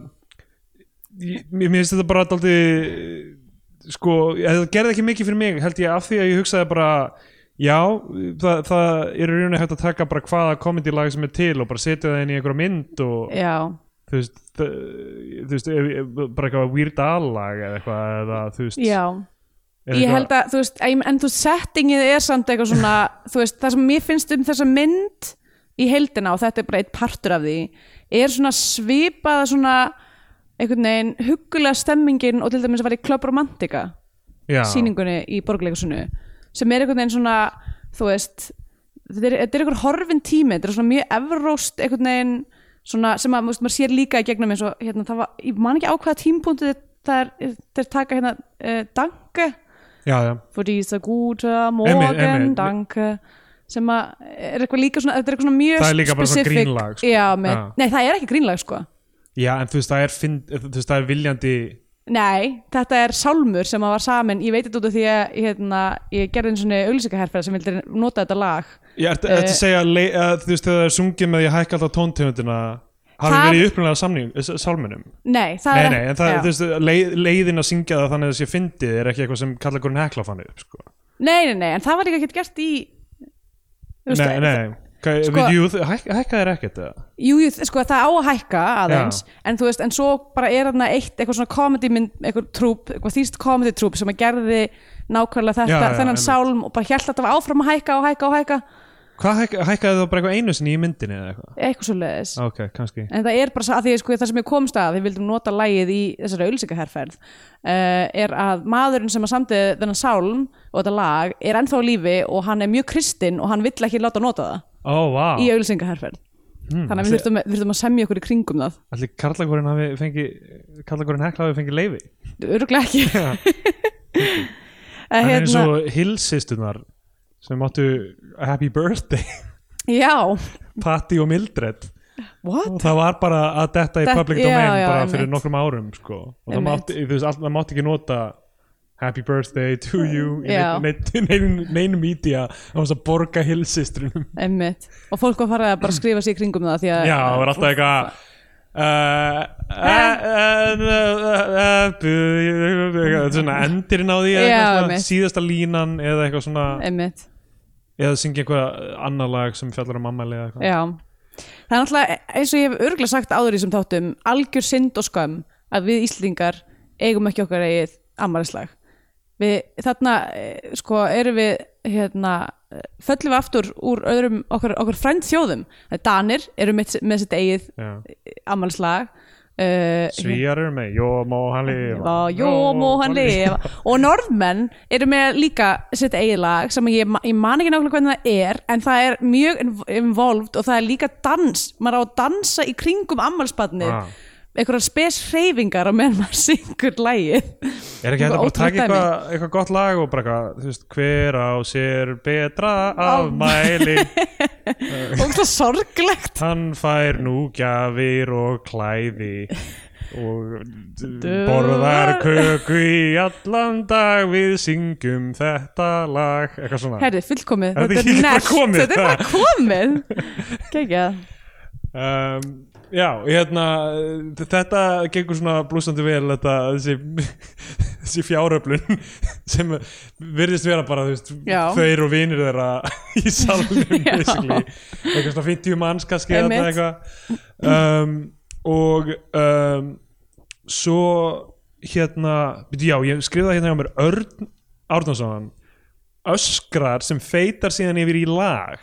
ég, mér finnst þetta bara daldi sko, þetta gerði ekki mikið fyrir mig held ég af því að ég hugsaði bara Já, það, það er í rauninni hægt að taka bara hvaða komedilag sem er til og bara setja það inn í einhverja mynd og
já,
þú veist, það, þú veist ef, ef, bara eitthvað Weird Al-lag eða eitthvað eða, þú veist,
já
er
ég
eitthvað-
held að, þú veist, en, en þú veist, settingið er samt eitthvað svona, þú veist, það sem mér finnst um þessa mynd í heildina og þetta er bara eitt partur af því er svona svipaða svona einhvern veginn huggulega stemmingin og til dæmis að vera í Club Romantica
já,
sýningunni í borgleikursunu sem er einhvern veginn svona þú veist, þetta er, þetta er einhver horfin tími, þetta er svona mjög evróst einhvern veginn svona sem að þú veist, maður sér líka í gegnum eins og hérna, það var, ég man ekki á hvaða tímpunktu þetta er, þetta er taka hérna uh, danke,
já, já,
for these are good morgen,
Einmitt, einmitt.
danke sem að er eitthvað líka svona, þetta er eitthvað svona mjög
Það er líka bara svona
specific-
grínlag, sko.
já, með,
Já.
nei það er ekki grínlag sko
já, en þú veist, það er, finn, þú veist, það er viljandi
Nei, þetta er sálmur sem að var samin, ég veit þetta út af því að hérna, ég gerði einu svona auglýsingaherfæra sem vildi nota þetta lag.
Ég ertu uh,
Eh.
að segja að, le- að þú veist þegar það er sungið með ég hækka alltaf tóntegundina hafi
Það-
verið í upprunalega samning, s- sálminum
Nei, það
Nei,
er...
nei, en það,
já.
þú veist, leið, leiðin að syngja það þannig að þessi fyndið er ekki eitthvað sem kalla hvernig hekla fann upp sko.
nei, nei, nei, en það var líka ekkert gert í... Þú veist,
Nei, nei, Hva,
Sko-
við, jú, þ- hæk, hækka þér ekkert eða?
Jú, jú, sko, það á að hækka aðeins,
Já.
en þú veist, en svo bara er þarna eitt, eitthvað svona comedy mynd, eitthvað trúp, eitthvað þýst comedy trúp sem að gerði nákvæmlega þetta,
Já, já,
þennan
einmitt.
sálm og bara hjælt að þetta var áfram að hækka og hækka og hækka,
Hvað hækka, hækkaði það bara eitthvað einu sinni í myndinni eða eitthvað? Ah,
eitthvað svo leiðis.
Ok, kannski
en það er bara sa- að því sko, það sem ég komst að við vildum nota lægið í þessari auðlýsingaherferð uh, er að maðurinn sem að samtið þennan sálm og þetta lag er ennþá á lífi og hann er mjög kristinn og hann vill ekki láta nota það
Ó, vá,
í auðlýsingaherferð
Ah. Hmm,
þannig að við þurftum, við þurftum að semja okkur í kringum það
allir karlakorinn hafi fengið karlakorinn hekla hafi fengið
<laughs>
leiði
öruglega ekki
<laughs> Já.
Eh,
En eins
hérna,
og Hill-sistunar sem áttu Happy Birthday <laughs>
já,
Patti og Mildred
what?
og það var bara að detta í
Þetta-
public
já,
domain
já,
bara
einmitt.
fyrir nokkrum árum sko. og það
Einmitt.
mátti, þú veist, all, það mátti ekki nota happy birthday to you í
Já.
neinn- <laughs> neinn- neinn media á þess að borga hilsistrunum
Einmitt. og fólk var farið að bara skrifa sér í kringum það því að
já, það var alltaf eitthvað Uh, uh, uh, uh, uh, uh, svona endirinn á því eða
Já,
eitthvað svona,
einmitt.
síðasta línan eða eitthvað svona
einmitt
eða syngja eitthvað annar lag sem fjallar um ammæli eða eitthvað
Já, það er náttúrulega eins og ég hef örgulega sagt áður í þessum þáttum algjör synd og skam að við Íslendingar eigum ekki okkar eigið ammælislag við, þarna eh, sko erum við hérna, eh, föllum við aftur úr öðrum okkar, okkar frænd þjóðum Danir eru með, með sitt eigið
Já.
ammælislag uh,
Svíjar eru með, jó, má hann lifa
lifa Jó, mó hann lifa Og norðmenn eru með líka sitt eigið lag sem ég, ma- ég man ekki nákvæmlega hvernig það er en það er mjög inv- involved og það er líka dans, maður á að dansa í kringum ammálsbarnið
Ah.
einhverjar spes hreyfingar á meðan maður syngur lægið
<laughs> Er ekki hægt að bara
Ótrúlegt
taka eitthvað, eitthvað gott lag og bara eitthvað, þú veist, hver á sér betra afmæli,
dæmi og það sorglegt
hann fær nú gjafir og klæði og d- borðar köku í allan dag, við syngjum þetta lag, eitthvað svona.
Herri, fullkomið,
Þetta
þetta
er
er
bara
næst
komið.
Þetta er
<laughs>
bara komið Kekja
Um, já, hérna, þetta gengur svona blúsandi vel, þetta, þessi, <laughs> þessi fjáröflun <laughs> sem virðist vera bara, þú veist,
Já.
þeir og vinir þeirra <laughs> í salnum,
<laughs> Já.
basically, eitthvað svona 50 manns kannski, þarna
Einmitt.
eitthvað, um, og um, svo, hérna, byrju, já, ég skrifaði hérna hjá mér Örn Árnason, öskrar sem feitar síðan yfir í lag,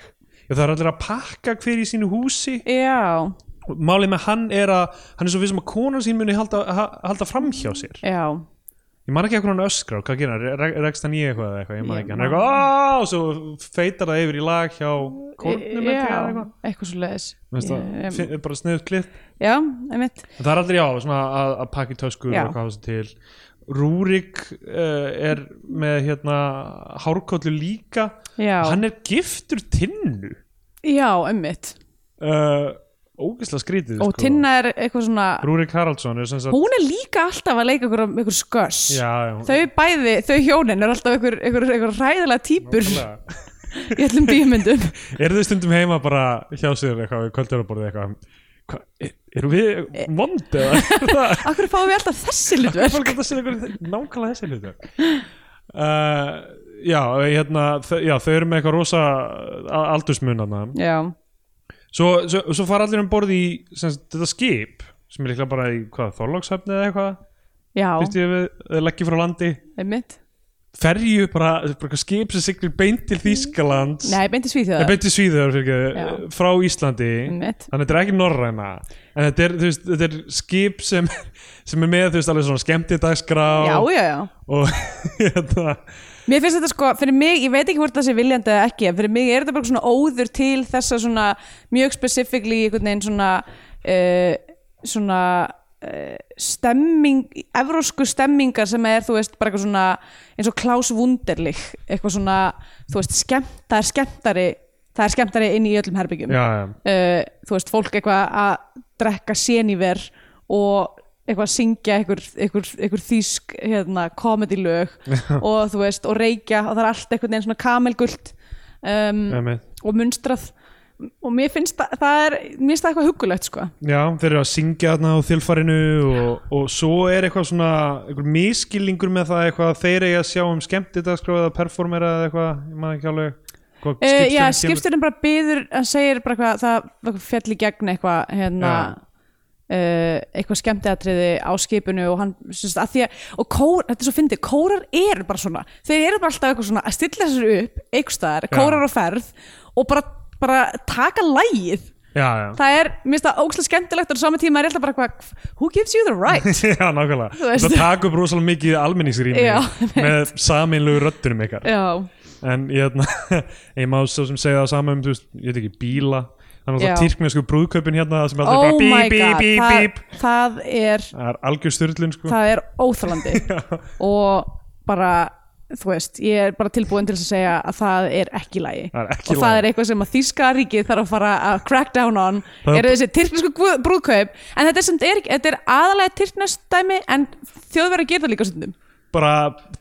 Já, það er allir að pakka hver í sínu húsi
Já,
málið með hann er að hann er svo við sem að konan sín muni halda, ha- halda fram hjá sér
já
ég man ekki að hann öskrar, hvað gerir hann, Re- rekst hann í eitthvað eða eitthvað, ég man
Ég
ekki, hann er
man-
eitthvað "Aah!" og svo feitar það yfir í lag hjá
Eh, Já, Eh,
kórnum eitthvað,
eitthvað svo leiðis
eitthvað.
Já,
Finn, bara sniðut klipp
einmitt
En það er allir já, svona að, að pakki töskur
Já.
og hvað þessi til Rúrik uh, er með hérna hárkóllu líka
Já,
hann er giftur tinnu
já einmitt
uh, ógislega skrítið sko.
og Tinna er eitthvað svona
Rúrik Haraldsson er sem sagt
hún er líka alltaf að leika ykkur, ykkur sköss
já, já,
þau bæði, þau hjónin er alltaf ykkur, ykkur, ykkur ræðilega típur
nákvæmlega.
í öllum bíumyndum
Er þið stundum heima bara hjá sér eitthvað við kvöldjóraborðið eitthvað hva, er, Erum
Eh.
við vond eða <laughs> er það-
Akkur fáum við alltaf þessi
er
hlutverk
fólk að það sér eitthvað nákvæmlega þessi hlutur uh, já, hérna, þau- já, þau eru með eitthvað rosa a- aldursmun þarna.
já,
svo, svo, svo fara allir um borð í sem, sagt, þetta skip sem er líklega bara í hvað, Þorlókshöfni eða eitthvað
já,
fyrst ég við leggji frá landi
einmitt
ferju, bara, bara eitthvað skip sem siglir beint til Þýskalands
Nei,
Nei,
beinti Svíþjóðar
beint til Svíður fyrir,
Já. Mm.
frá Íslandi
Einmitt.
þannig að þetta er ekki norræna en þetta er, þú veist, þetta er skip sem, sem er með þú veist, alveg svona skemmtidagskrá
Já, já, já
og <laughs> hérna,
Mér finnst þetta sko, fyrir mig, ég veit ekki hvort það sé viljandi eða ekki, en fyrir mig er þetta bara svona óður til þessa svona mjög specifíkli einhvern veginn svona uh, svona uh, stemming, evrósku stemmingar sem er, þú veist, bara eitthvað svona eins og Klaus Wunderlich eitthvað svona, þú veist, skemmt, það er skemmtari það er skemmtari inn í öllum herbyggjum
já, já,
uh, þú veist, fólk eitthvað að drekka séníver og eitthvað að syngja einhver, einhver, einhver þýsk hérna, komedilög og þú veist, og reykja og það er allt einhvern veginn svona kamelgult um,
einmitt.
og munstrað og mér finnst það, það er mér finnst það eitthvað huggulegt sko
já, þeir eru að syngja þarna á þilfarinu og, og svo er eitthvað svona eitthvað miskilningur með það eitthvað að þeir eiga að sjá um skemmtidagskrá eða performera eða eitthvað, ég maður ekki alveg hvað
Uh, já,
skipstjórinn kemur-
skipstjórinn bara byður hann segir bara hvað, það eitthvað fjall í gegn eitthvað hérna
Já.
Uh, eitthvað skemmtiatriði á skipinu og hann, syns, að því að, og kór, þetta er svo fyndið kórar eru bara svona, þeir eru bara alltaf eitthvað svona að stilla sér upp, eitthvað staðar
Já.
kórar á ferð og bara, bara taka lægið,
já, já,
það er mér finnst það ógslag skemmtilegt og á sama tíma er ég alltaf bara eitthvað, who gives you the right
<laughs> já, nákvæmlega
Þú veist.
það taka upp rosalega mikið almenningsrými
Já,
með saminlegu röddunum ykkar
já,
en ég, hérna, <laughs> ég má svo sem segja það sama um, þú veist, ég veit ekki, bíla þannig að
Já.
það tyrknesku brúðkaupin hérna sem allir
oh
bara
my
bíp, bíp,
god
bíp, bíp
það, það er
það er algjör styrlun sko
það er
<laughs>
óþalandi og bara þú veist, ég er bara tilbúin til að segja að það er ekki lægi
Það er ekki
og
í
það
lagi.
er eitthvað sem að þýska ríkið þarf að fara að crack down on
Það er-
eru þessi tyrknesku guð- brúðkaup en þetta er, samt er, ekki- þetta er aðalega tyrknest dæmi en þjóðverð að gera það líka stundum
bara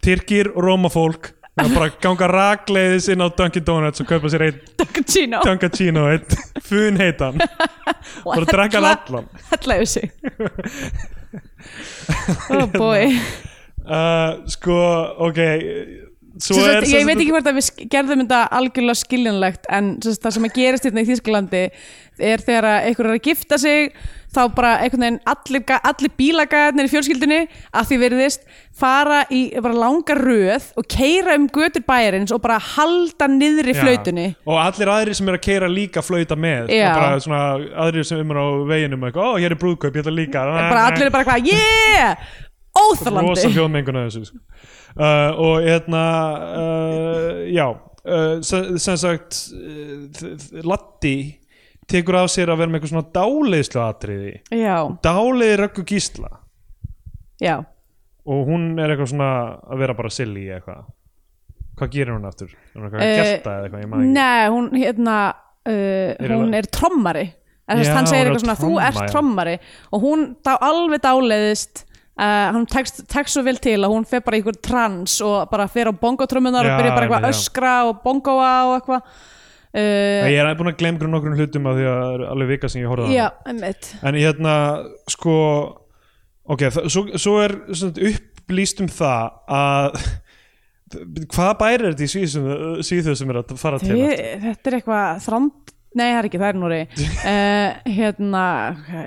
tyrkir og rómafólk það bara ganga rakleiðis inn á Dunkin Donuts og kaupa
<laughs>
sér einn
Dunkachino
Dunkin Chino einn fun heitan bara að drekka hann allan
Hella yfir
<laughs>
sig Oh boy
Hérna. uh, sko, ok svo
Sem
er
sagt,
sem
ég veit
sagt-
ekki hvort að við sk- gerðum þetta algjörlega skiljanlegt en sem sagt, það sem að gerist hérna í Þýskalandi er þegar að einhver er að gifta sig þá bara einhvern veginn allir, ga- allir bílagæðnir í fjölskyldunni að því veriðist fara í bara langa röð og keira um götur bæjarins og bara halda niðri
Já.
flautunni
og allir aðrir sem eru að keira líka flauta með sko,
Já.
bara svona aðrir sem eru á veginum og eitthvað, ó, hér er brúðkaup, ég ætla líka
bara allir er bara hvað, yeah
rosa
óþalandi
hljóðmengun að þessu sko. uh, og hérna uh, já uh, sem, sem sagt uh, Latti tekur af sér að vera með eitthvað svona dáleiðslu atriði
já,
dáleiði röggu gísla
já,
og hún er eitthvað svona að vera bara silly í eitthvað hvað gerir hún aftur? Er hún eitthvað að
Eh,
gelta eða eitthvað? Ég man ekki.
nei hún hérna uh, hún
alveg-
er trommari En þú veist,
Já,
hann segir
hún er
eitthvað svona, þú ert
trommari.
trommari og hún dá, alveg dáleiðist uh, hann tekst, tekst svo vel til að hún fer bara í einhver trans og bara fer á bongotrömmunar
Já,
og byrja bara eitthvað
einmitt,
að
já.
öskra og bongoa og eitthvað uh,
Ég er búin að glemgra nokkrum hlutum af því að það er alveg vika sem ég horfði á hana.
já, einmitt
en hérna sko ok, það- svo, svo er svona, upplýst um það að <laughs> hvað bæri er þetta í Svíð sem, Svíðu sem er að fara til
Þi, þetta er eitthvað þrand Nei, það er ekki, það er
<laughs>
núri uh, Hérna,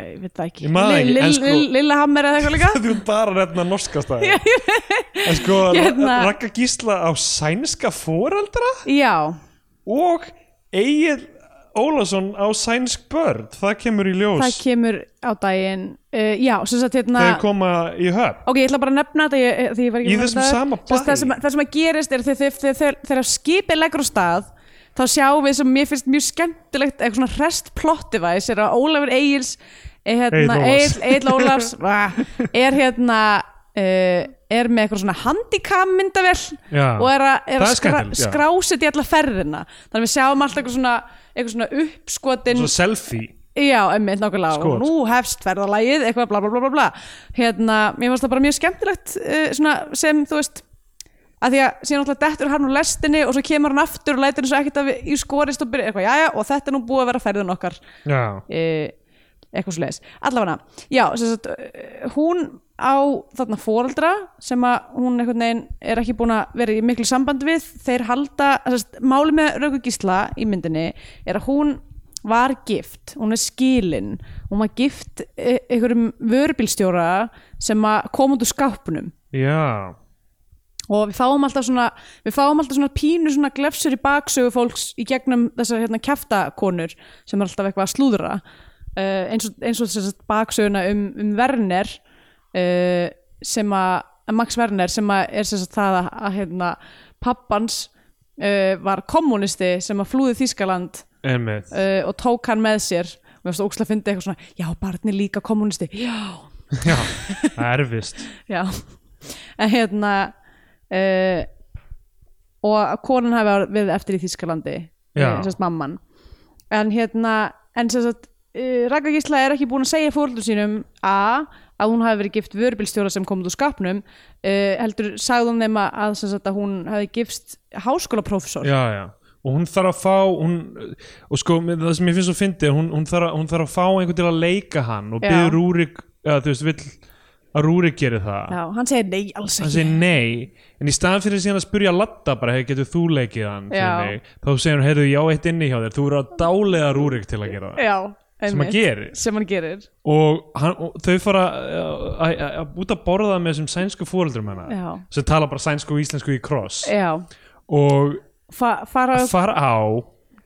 ég veit það ekki
Ég man það ekki, en sko-
Lillahammer eða eitthvað
<laughs>
líka
þú ert bara reyna norska staði en sko,
Hérna.
hérna. Ragga Gísla á sænska foreldra
Já,
og Egil Ólafsson á sænsk börn það kemur í ljós
það kemur á daginn uh, Já, sem sagt hérna
þegar koma í höfn
Ok, ég ætla bara að nefna þetta ég, því ég var ekki
Í
búin að
þessum
nefna það.
sama
Sem sagt,
bæ.
það sem, það sem að gerist er þegar- þegar- þegar þegar skipið leggur á stað þá sjáum við sem mér finnst mjög skemmtilegt eitthvað svona rest plot device er að Ólafur Egils hérna,
Egill Ólafs. <laughs>
Egil Ólafs va, er hérna uh, er með eitthvað svona handikam myndavel
Já.
og er að, er
Það
að
er
skra,
skemmtilegt, já.
skrásit í alla ferðina þannig að við sjáum alltaf eitthvað svona, eitthvað svona uppskotin
svo selfie
Já, emmitt nákvæmlega
Skot.
og nú hefst ferðalagið, eitthvað bla bla bla bla bla hérna, mér finnst það bara mjög skemmtilegt uh, svona sem, þú veist að því að síðan alltaf dettur hann úr lestinni og svo kemur hann aftur og lætur eins og ekkert að við í skorist og byrja eitthvað, jæja, og þetta er nú búið að vera ferðin okkar
já
uh, eitthvað svo leiðis, allafana já, sem sagt, eh, hún á þarna foreldra sem að hún einhvern veginn er ekki búin að vera í miklu samband við, þeir halda sem sagt, máli með Rauku Gísla í myndinni er að hún var gift hún er skilin, hún var gift eh, einhverjum vörubílstjóra sem að kom út úr skápnum
já,
og við fáum alltaf svona við fáum alltaf svona pínu svona glefsur í baksögu fólks í gegnum þessar hérna kjaftakonur sem er alltaf eitthvað að slúðra uh, eins og, eins og þess að baksöguna um, um Werner uh, sem að að Max Werner sem að er þess að það að, að hérna pappans uh, var kommunisti sem að flúði Þískaland
einmitt
uh, og tók hann með sér og mér varst ókslega að fyndi eitthvað svona já, barni líka kommunisti, já <laughs>
já, það er vist
já en hérna uh, og að konan hafi verið eftir í Þískalandi
Já.
sérst mamman en hérna en sérst uh, Raka Gísla er ekki búin að segja fóröldur sínum a að hún hafi verið gift vörubilstjóra sem komið úr skapnum uh, heldur sagði hún þeim að, að, sem sagt, að hún hafi gifst háskólaprófessor
já, já. og hún þarf að fá hún, og sko, með- það sem ég finnst svo fyndi hún, hún, þarf að, hún þarf að fá einhvern til að leika hann og
Já.
byrður Rúrik eða þú veist, vill að Rúrik geri það
hann segir nei, alls
hann
ekki
segir nei, en í staðan fyrir síðan að spyrja Latta bara, hey, getur þú leikið hann fyrir
Já.
mig?" þá segir hún, heyrðu, já, eitt inni hjá þér þú eru að dálega Rúrik til að gera það
já,
sem
einmitt.
að gerir
sem hann gerir
og, hann, og þau fara uh, að- að- að- út að borða með þessum sænsku fóreldrum hennar
Já.
sem tala bara sænsku og íslensku í kross
já,
og
Fa fara á
fara á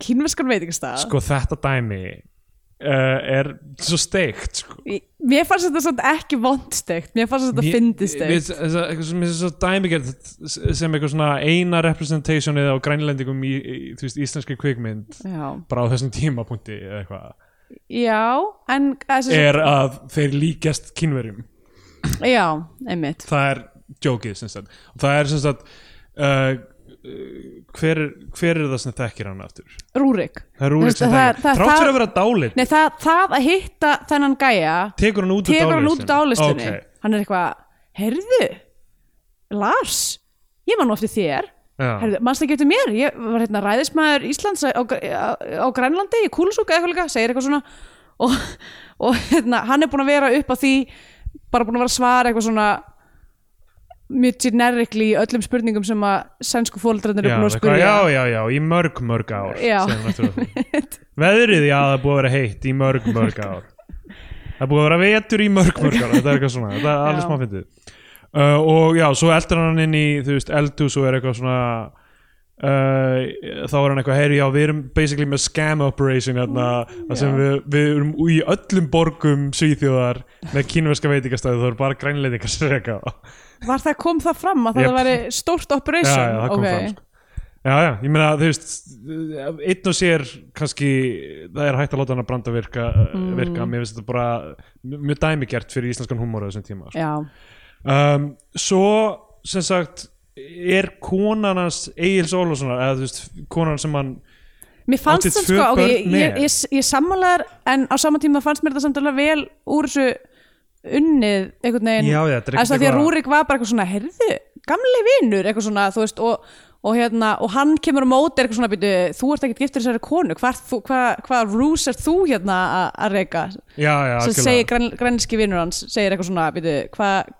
kynverskan veitingastað
sko þetta dæmi uh, er svo steikt sko.
Ég- Mér fannst þetta samt ekki vondstegt Mér fannst þetta fyndistegt
Mér- þessa- eitthvað sem- mér finnst svo dæmigerð sem eitthvað svona eina representationið á grænlendingum í, í þú veist, íslenski kvikmynd
Já,
bara á þessum tímapunkti eða eitthvað
já en eh, að,
er að þeir líkjast kynverjum
Já, einmitt
það er jókið sem sagt og það er sem sagt uh, hver, hver er það sem þekkir hann aftur
Rúrik
það er úrið sem
Það-
þekkir
það-
þrátt
það-
fyrir að vera dálit
Nei, það, það að hitta þennan gæja
tekur hann út úr
Tegur hann út dálistunni
Ok,
Hann er eitthvað, heyrðu Lars, ég man nú eftir þér
já.
Heyrðu, mannst ekki eftir mér Ég var hérna ræðismæður Íslands á, á, á Grænlandi Í Kúlusúka eitthvað líka, segir eitthvað svona Og, og hérna, hann er búin að vera upp á því Bara búin að vera að svara eitthvað svona mjög generikli í öllum spurningum sem að sænsku fóldrarnir
já,
eru búin að
eitthvað,
spyrja
já, já, já, í mörg, mörg ár
Já.
segir
<laughs>
hann eftir að því. veðrið, já, það er búið að vera heitt í mörg, mörg ár það er búið að vera vetur í mörg, mörg ár þetta er eitthvað svona, þetta er alveg
Já.
smá fyndið uh, og já, svo eldur hann inn í þú veist, eldhús og er eitthvað svona uh, þá er hann eitthvað heyri, já, við erum basically með scam operation hérna, þar sem við, við erum í öllum borgum svíþjóðar með kínverska veitingastæði, það eru bara grænleitingar sem reka á
Var það kom það fram að það
Jep.
væri stórt operation
já, já, það kom
Ok.
fram sko. já, já, ég meina, þú veist einn og sér, kannski það er hægt að láta hann að branda virka,
Mm.
virka mér finnst þetta bara mjög dæmigert fyrir íslenskan húmóra þessum tíma sko.
Já,
um, svo, sem sagt er konan hans Egil Ólafssonar, eða þú veist, konan sem hann
mér fannst
Átti
það
tvö
sko ok,
börn
ég, ég,
með.
ég, ég sammálaðar en á sama tíma fannst mér þetta samt alveg vel úr þessu unnið einhvern veginn,
Já, já, þetta er
að
ekkert
því að
eitthvað-
Rúrik var bara eitthvað svona, heyrðu, gamli vinur eitthvað svona, þú veist, og, og hérna og hann kemur á móti eitthvað svona, byrju þú ert ekkert giftur þessari konu, hvað hva, hva rús er þú hérna að- að reyka
já, já,
sem
algjörlega.
segir græn, grænski vinur hans segir eitthvað svona, byrju, hvað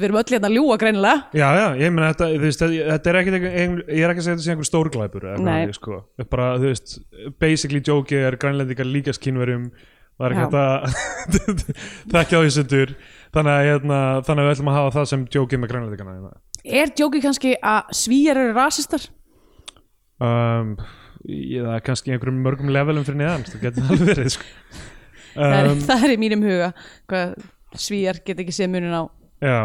við erum öll hérna að ljúa grænilega
Já, já, ég meina þetta, þú veist, þetta- þetta er ekkert einhver, ég er ekki að segja þetta sé einhver stórglæpur eða
Nei.
hvað, sko, Þetta er bara, þú veist basically joke er grænlendingar líka skinnverjum það er ekki
Já.
hægt að <laughs> þekkja á því sundur þannig að, hérna, þannig að við ætlum að hafa það sem jokeið með grænlendingarna hérna.
er djókið kannski að svíjar eru rasistar
um, ég, það er kannski í einhverjum mörgum levelum fyrir neðan, það getur alveg verið sko.
<laughs> það, er,
um,
það er í mínum huga hvað svíjar get ekki séð munin á
Já,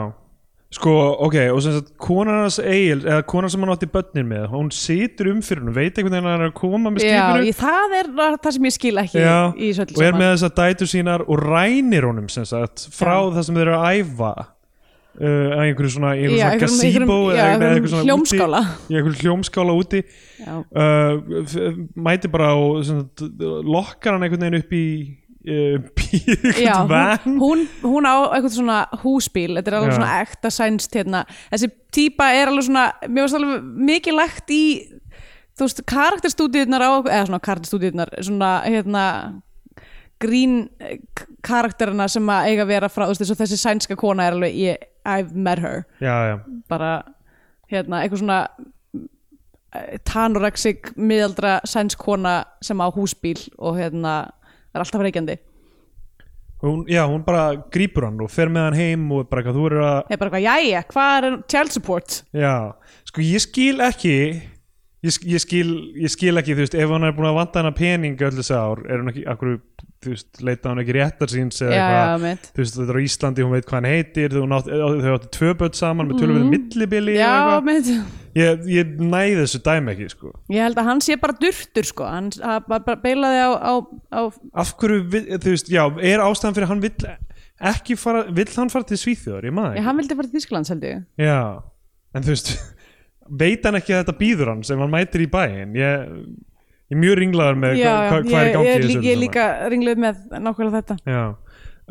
sko, ok og sem sagt, konan hans Egil eða konan sem hann átti börnin með, hún situr um fyrir hún, veit einhvern veginn að hann er að koma með
já,
skipinu
ég, það er það sem ég skil ekki
Já,
í þessu öllu
og er
saman
með þess að dætu sínar og rænir honum sem sagt frá
Já.
það sem þeir eru að æfa uh, að einhverju svona, einhverju
Já,
svona
einhverjum-
gazebo
einhverjum-
eða
já,
einhverju-
einhverjum
svona
hljómskála.
úti, í einhverju hljómskála úti
já,
uh, f- mæti bara og sem sagt, lokkar hann einhvern veginn upp í uh, <laughs> upp í
já
einhvern
hún,
vann
hún, hún á eitthvað svona húsbíl þetta er alveg
Já.
svona ekta sænst hérna þessi típa er alveg svona mér varst alveg mikið lagt í þú veist, karakterstúdíunar á eða svona karakterstúdíunar svona hérna grín eh, k- karakterina sem að eiga að vera frá, þú veist, eins og þessi sænska kona er alveg, ég, I've met her
já, já,
bara, hérna, eitthvað svona eh, tanorexic miðaldra sænsk kona sem á húsbíl og hérna er alltaf reykjandi
hún, já, hún bara grípur hann og fer með hann heim og bara hvað þú eru að
er bara eitthvað, jæja, hvað er child support?
Já, sko ég skil ekki ég, sk- ég, skil, ég skil ekki þú veist, ef hann er búin að vanda hana pening öll þessi ár, er hún ekki, akkur þú veist, leita hann ekki réttar síns eða
Já, já,
eitthvað,
mitt.
þú veist, þetta er á Íslandi hún veit hvað hann heitir, þau átti, þau átti tvö börn saman með tölum við millibili eða
Mhm. Já,
eitthvað.
með
ég, ég næði þessu dæmi ekki, sko
Ég held að hann sé bara durtur sko, hann hann bara beilaði á, á, á
af hverju, vi, þú veist, já, er ástæðan fyrir að hann vill ekki fara, vill hann fara til Svíþjóðar, ég maður
ég, hann vildi fara til Þísklands held ég.
Já, en þú veist <laughs> veit hann ekki að þetta býður hann sem hann mætir í bæinn ég, ég er mjög ringlaður með
Já,
hva, hva,
ég,
hvað er í gangi
ég,
í
er
þessu
lí-
öllu
ég er
saman.
líka ringluð með nákvæmlega þetta.
Já,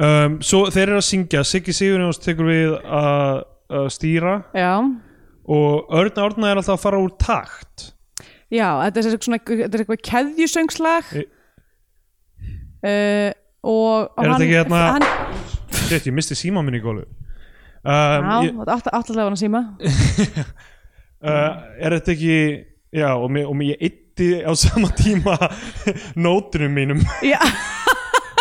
um, svo þeir eru að syngja Siggi Sigurjóns tekur við að að stýra
Já,
og Örn Árna er alltaf að fara úr takt
já, þetta er sem sagt svona, þetta er eitthvað keðjusöngslag
Ég-
uh, og, og
Er þetta
hann,
ekki hérna-
hann,
Shit, ég misti síma minni í gólu um,
já,
ég,
þetta átt- áttalega var hann að
<laughs>
síma.
uh, er þetta ekki já, og mér, og mér ég eitti á sama tíma <laughs> nótunum
<laughs>
mínum
Já,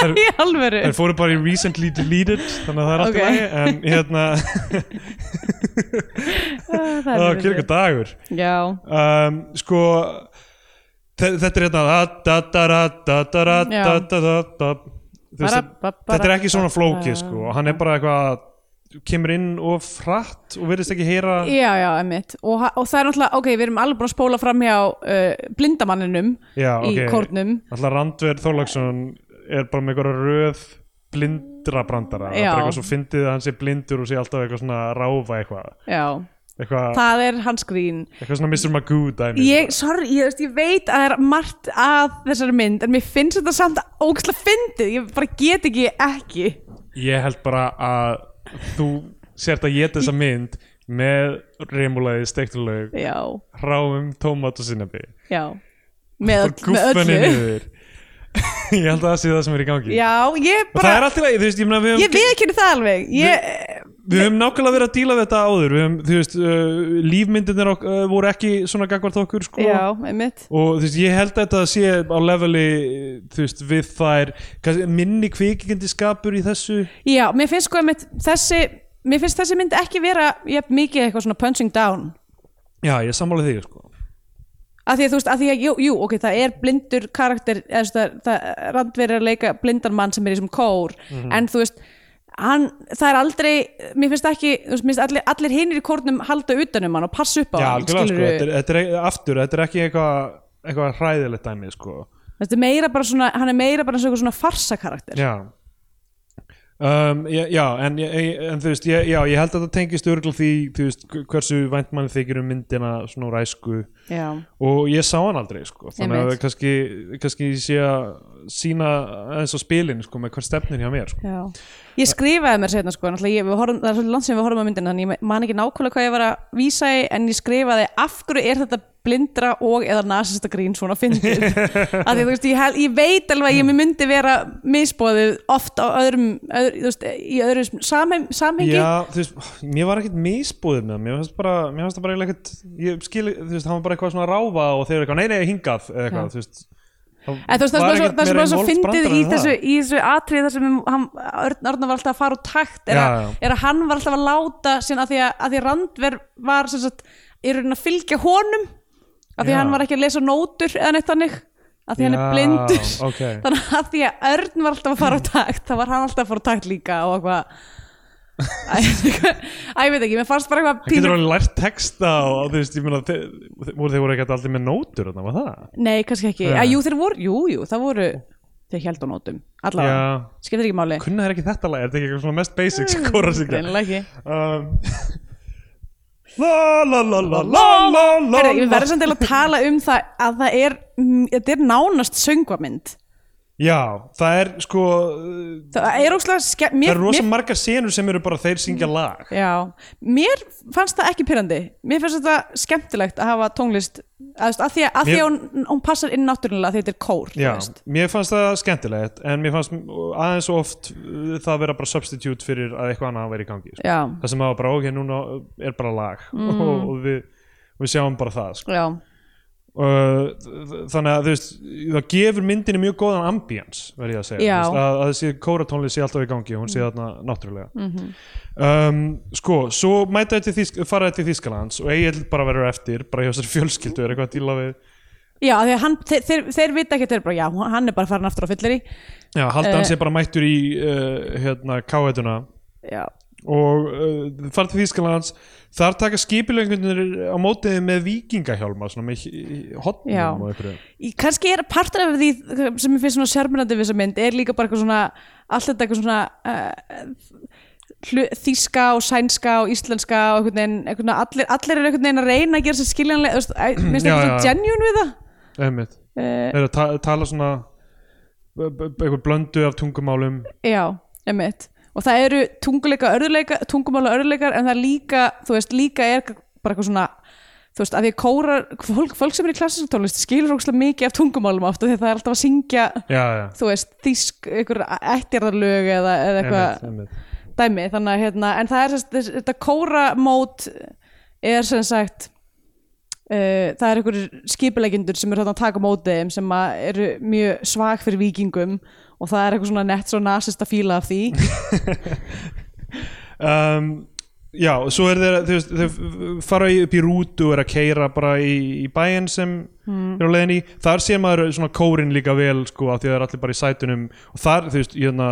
Þær-
<laughs> í alvöru.
Þeir fóru bara í recently deleted þannig að það er alltaf
Ok.
okay. lægi en hérna,
Það
það
er
var kirkur Ah, dagur
Já,
um, sko þe- þetta er hérna da, da, da, da, da, da, da,
Já.
da, da, da, da. Þú
Bara-
Veist,
bara-
þetta er ekki svona
bara-
flókið sko og hann er bara eitthvað kemur inn of frætt og virðist ekki heyra
já, já, emitt. Og, ha- og það er náttúrulega, ok, við erum alveg búin að spóla fram hjá uh, blindamanninum
Já,
í
ok.
kórnum.
alltaf Randver Þorlagsson er bara með eitthvað röð blindra brandara það er
Já.
bara eitthvað svo fyndið að hann sé blindur og sé alltaf eitthvað svona að ráfa eitthvað
Já,
eitthvað,
það er hans grín
eitthvað svona Mr. Magoo dæmi
ég, sorry, ég, veist, ég veit að það er margt að þessari mynd en mér finnst þetta samt ógæslega fyndið ég bara get ekki ekki
Ég held bara að þú sért að geta þessa mynd með reymulaði steikturlaug,
já,
hráum tómat og sinnabi
já með,
og
öll- með
guffanni
öllu
niður <laughs> Ég held að það sé það sem er í gangi
já, ég
og það er
bara
alltaf, þú veist, ég meina við
ég
höfum,
við ekki það alveg ég,
við höfum nákvæmlega verið að díla við þetta áður við höfum, þú veist, uh, lífmyndinir ok, uh, voru ekki svona gagvart okkur sko.
já, einmitt
og þú veist, ég held að þetta sé á leveli, þú veist, við þær kannski, minni kvikindiskapur í þessu
já, mér finnst sko einmitt þessi mér finnst þessi mynd ekki vera jafn, mikið eitthvað svona punching down
Já, ég sammála því, sko
að því að þú veist, að því að, jú, jú ok, það er blindur karakter, eða þú veist, það, það randverið að leika blindan mann sem er í þessum kór
Mhm.
en þú veist, hann það er aldrei, mér finnst ekki þú veist, mér finnst allir, allir hinir í kórnum halda utanum hann og passa upp á
Já,
hann,
algjörlega sko,
skilurðu.
þetta er, þetta er aftur, þetta er ekki eitthvað eitthvað hræðilegt dæmi sko
þetta er meira bara svona, hann er meira bara eins og einhver svona farsa karakter,
Já Um, já, já, en, ég- ég- en þú veist ég, já, ég held að það tengist örgulega því þú veist, hversu vænt manni þykir um myndina svona úr æsku
já,
og ég sá hann aldrei sko þannig að
Einmitt.
kannski, kannski ég sé að sína eins og spilin sko með hver stefnir hjá mér sko.
já ég skrifaði mér setna sko, náttúrulega ég, við horfum, það er svolítið langt sem við horfum á myndina þannig ég man ekki nákvæmlega hvað ég var að vísa í en ég skrifaði af hverju er þetta blindra og eða nasista grín svona
<laughs>
fyndið að því þú veist, ég, hel, ég veit alveg að ég myndi vera misbóðið oft á öðrum, öðru, þú veist, í öðru samhem, samhengi
Já, þú veist, oh, mér var ekkert misbúðið með það, mér fannst bara, mér fannst það bara eiginlega ekkert ég skil, þú veist, hann var bara eitthvað svona að ráfa og þeir eru eitthvað, nei, nei, hingað, eða eitthvað, þú veist
En þú veist,
var
það sem bara svo-
ekkert
það sem
meira
bara svo
involved
fyndið
brandari
í
en
þessu,
það.
í þessu atrið þar sem um- hann, Örn Arnar var alltaf að fara úr takt er,
Já,
að, er að hann var alltaf að láta sín að því að, að því að Randver var sem sagt, í raunin að fylgja honum að
Já.
því að hann var ekki að lesa nótur eða neitt þannig að því að hann er
Já,
blindur
<laughs> ókei.
<laughs> þannig að því að Örn var alltaf að fara á takt þá var hann alltaf að fara á takt líka
<laughs>
og eitthvað Æ, <laughs> Æ, ég veit ekki, mér fannst bara eitthvað
Hann getur alveg lært texta og þú veist, ég meina, þeir voru þeir voru ekkert aldrei með nótur, þannig var það
Nei, kannski ekki,
Nei.
að, jú þeir voru, jú, jú, það voru þeir held á nótum, allavega
Já.
skiptir ekki máli
Kunna er ekki þetta lag, er þetta ekki eitthvað svona mest basic sem kóra sig
Mm, Greinilega ekki
La la la la la la la
Herri, Við verðum samt eiginlega að tala um það að það er, mm, þetta er nánast söngvamynd
Já, það er sko uh,
það er óslega skemmt
það
mér,
eru rosa
mér, Mm.
margar senur sem eru bara þeir syngja lag
já, mér fannst það ekki pyrrandi mér fannst þetta skemmtilegt að hafa tónlist að, að því að, að, því að hún, hún passar inn náttúrulega því þetta er kór þú
Já,
veist.
mér fannst það skemmtilegt en mér fannst aðeins oft uh, það vera bara substitute fyrir að eitthvað annað væri í gangi sko.
já, Mm.
það sem hafa bara ok, núna er bara lag <laughs> og, og við, við sjáum bara það sko.
já,
Uh, þannig að þú veist það gefur myndinni mjög góðan ambíans verð ég að segja,
Já. Mm.
Þú veist, að, að þessi kóratónlið sé alltaf í gangi og hún sé þarna náttúrulega
Mhm.
um, sko, svo mæta þetta þýsk, fara þetta til Þýskalands og Egil bara verður eftir, bara hjá sér fjölskyldu er eitthvað að díla við,
já af því að hann, þeir, þeir, þeir vita ekki þeir bara, já, hann er bara farin aftur á fyllir í
já, halda
Eh,
hann sé bara mættur í uh, hérna, káhetuna
já,
og uh, fara til Þýskalands þar taka skipilöngunir á mótiði með vikingahjálma, svona með
Já.
hotnum og einhverju
Í- kannski er partur af því sem ég finnst svona sérmyndandi við þessa mynd er líka bara eitthvað svona allt þetta eitthvað svona uh, hlu, þýska og sænska og íslenska og einhvern veginn, einhvern veginn allir, allir er einhvern veginn að reyna að gera sér skiljanlega þú veist, æ, mér finnst
Já,
eitthvað
já,
svona
já.
genuine við það
einmitt
uh,
er að ta tala svona b- b- eitthvað blöndu af tungumálum
já, emitt og það eru tunguleika örðuleika tungumála örðuleikar en það er líka þú veist, líka er bara eitthvað svona þú veist, að því að kórar, fólk, fólk sem er í klassisk tónlist skilur ógstlega mikið af tungumálum ofta því að það er alltaf að syngja
já, já,
þú veist, þýsk, einhver ættjarðarlög eða, eða
einmitt,
eitthvað
einmitt.
dæmi, þannig að hérna, en það er sem sagt, þess- þetta kóramót er sem sagt uh, það er einhverjir skipulegendur sem eru þarna að taka á móti þeim sem að eru mjög svag fyrir vikingum og það er eitthvað svona nett svo nasist að fíla af því
Um, já, og svo er þeir þú veist, þeir fara í- upp í rútu og er að keira bara í, í bæinn sem mm. er á leiðin í, þar sér maður svona kórin líka vel, sko, af því það er allir bara í sætunum og þar, þú veist, hérna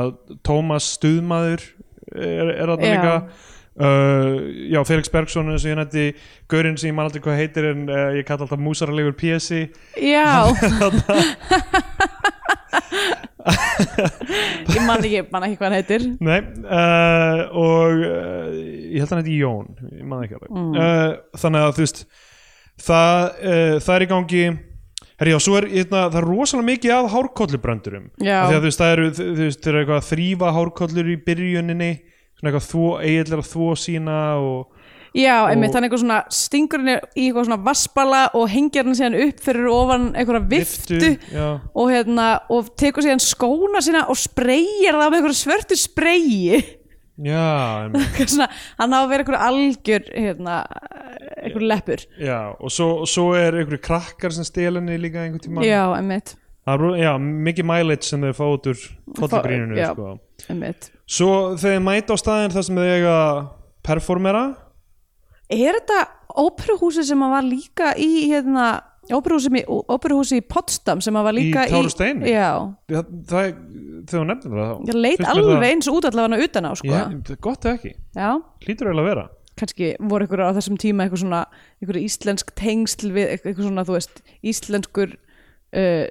Tómas Stuðmaður er, er þarna
Já.
líka Uh, já, Felix Bergson eins og ég nætti Gaurinn sem ég man aldrei hvað heitir en uh, ég kalla alltaf músaralegur PSI
já <laughs> ég man ekki, man ekki hvað hann heitir
Nei, uh, og uh, ég held að hann heiti Jón, ég maður ekki alveg
Mm.
uh, Þannig að þú veist, það, uh, það er í gangi, herri já, svo er, hérna, það er rosalega mikið af hárkollubröndurum
Já.
Af Því að þú veist, það eru, þú þú veist, það eru eitthvað að þrýfa hárkollur í byrjuninni Svona eitthvað þvó, eiginlega þvó sína og
Já, einmitt,
Og-
hann eitthvað svona stingur henni í eitthvað svona vaspala og hengir hann síðan upp fyrir ofan einhverja viftu,
já
og hérna og tekur síðan skóna sína og spreyjar það með einhverju svörtu spreyi <laughs>
Já, einmitt
svona, hann á að vera einhverju algjör hérna, einhverju leppur
Já, og svo, og svo er einhverju krakkar sem stelinni líka einhvern tímann
já, emmitt,
Það er ro- já, mikið mileage sem þau fá út úr kollagríninu,
Já.
sko
emmitt
Svo þegar mæta á staðin þar sem þau eiga að performera
er þetta óperuhúsi sem að var líka í hérna, óperuhúsi, í- óperuhúsi í Potsdam sem að var líka
Í Tár og Steini?
já,
það, það, er- þegar hún nefnir það þá
ég leit
finnst mér
alveg
það-
eins út allavega utan á sko.
Já, það er gott eða ekki,
já,
hlýtur eiginlega að vera
kannski voru ykkur á þessum tíma eitthvað svona, ykkur íslensk tengsl við eitthvað svona, þú veist, íslenskur uh,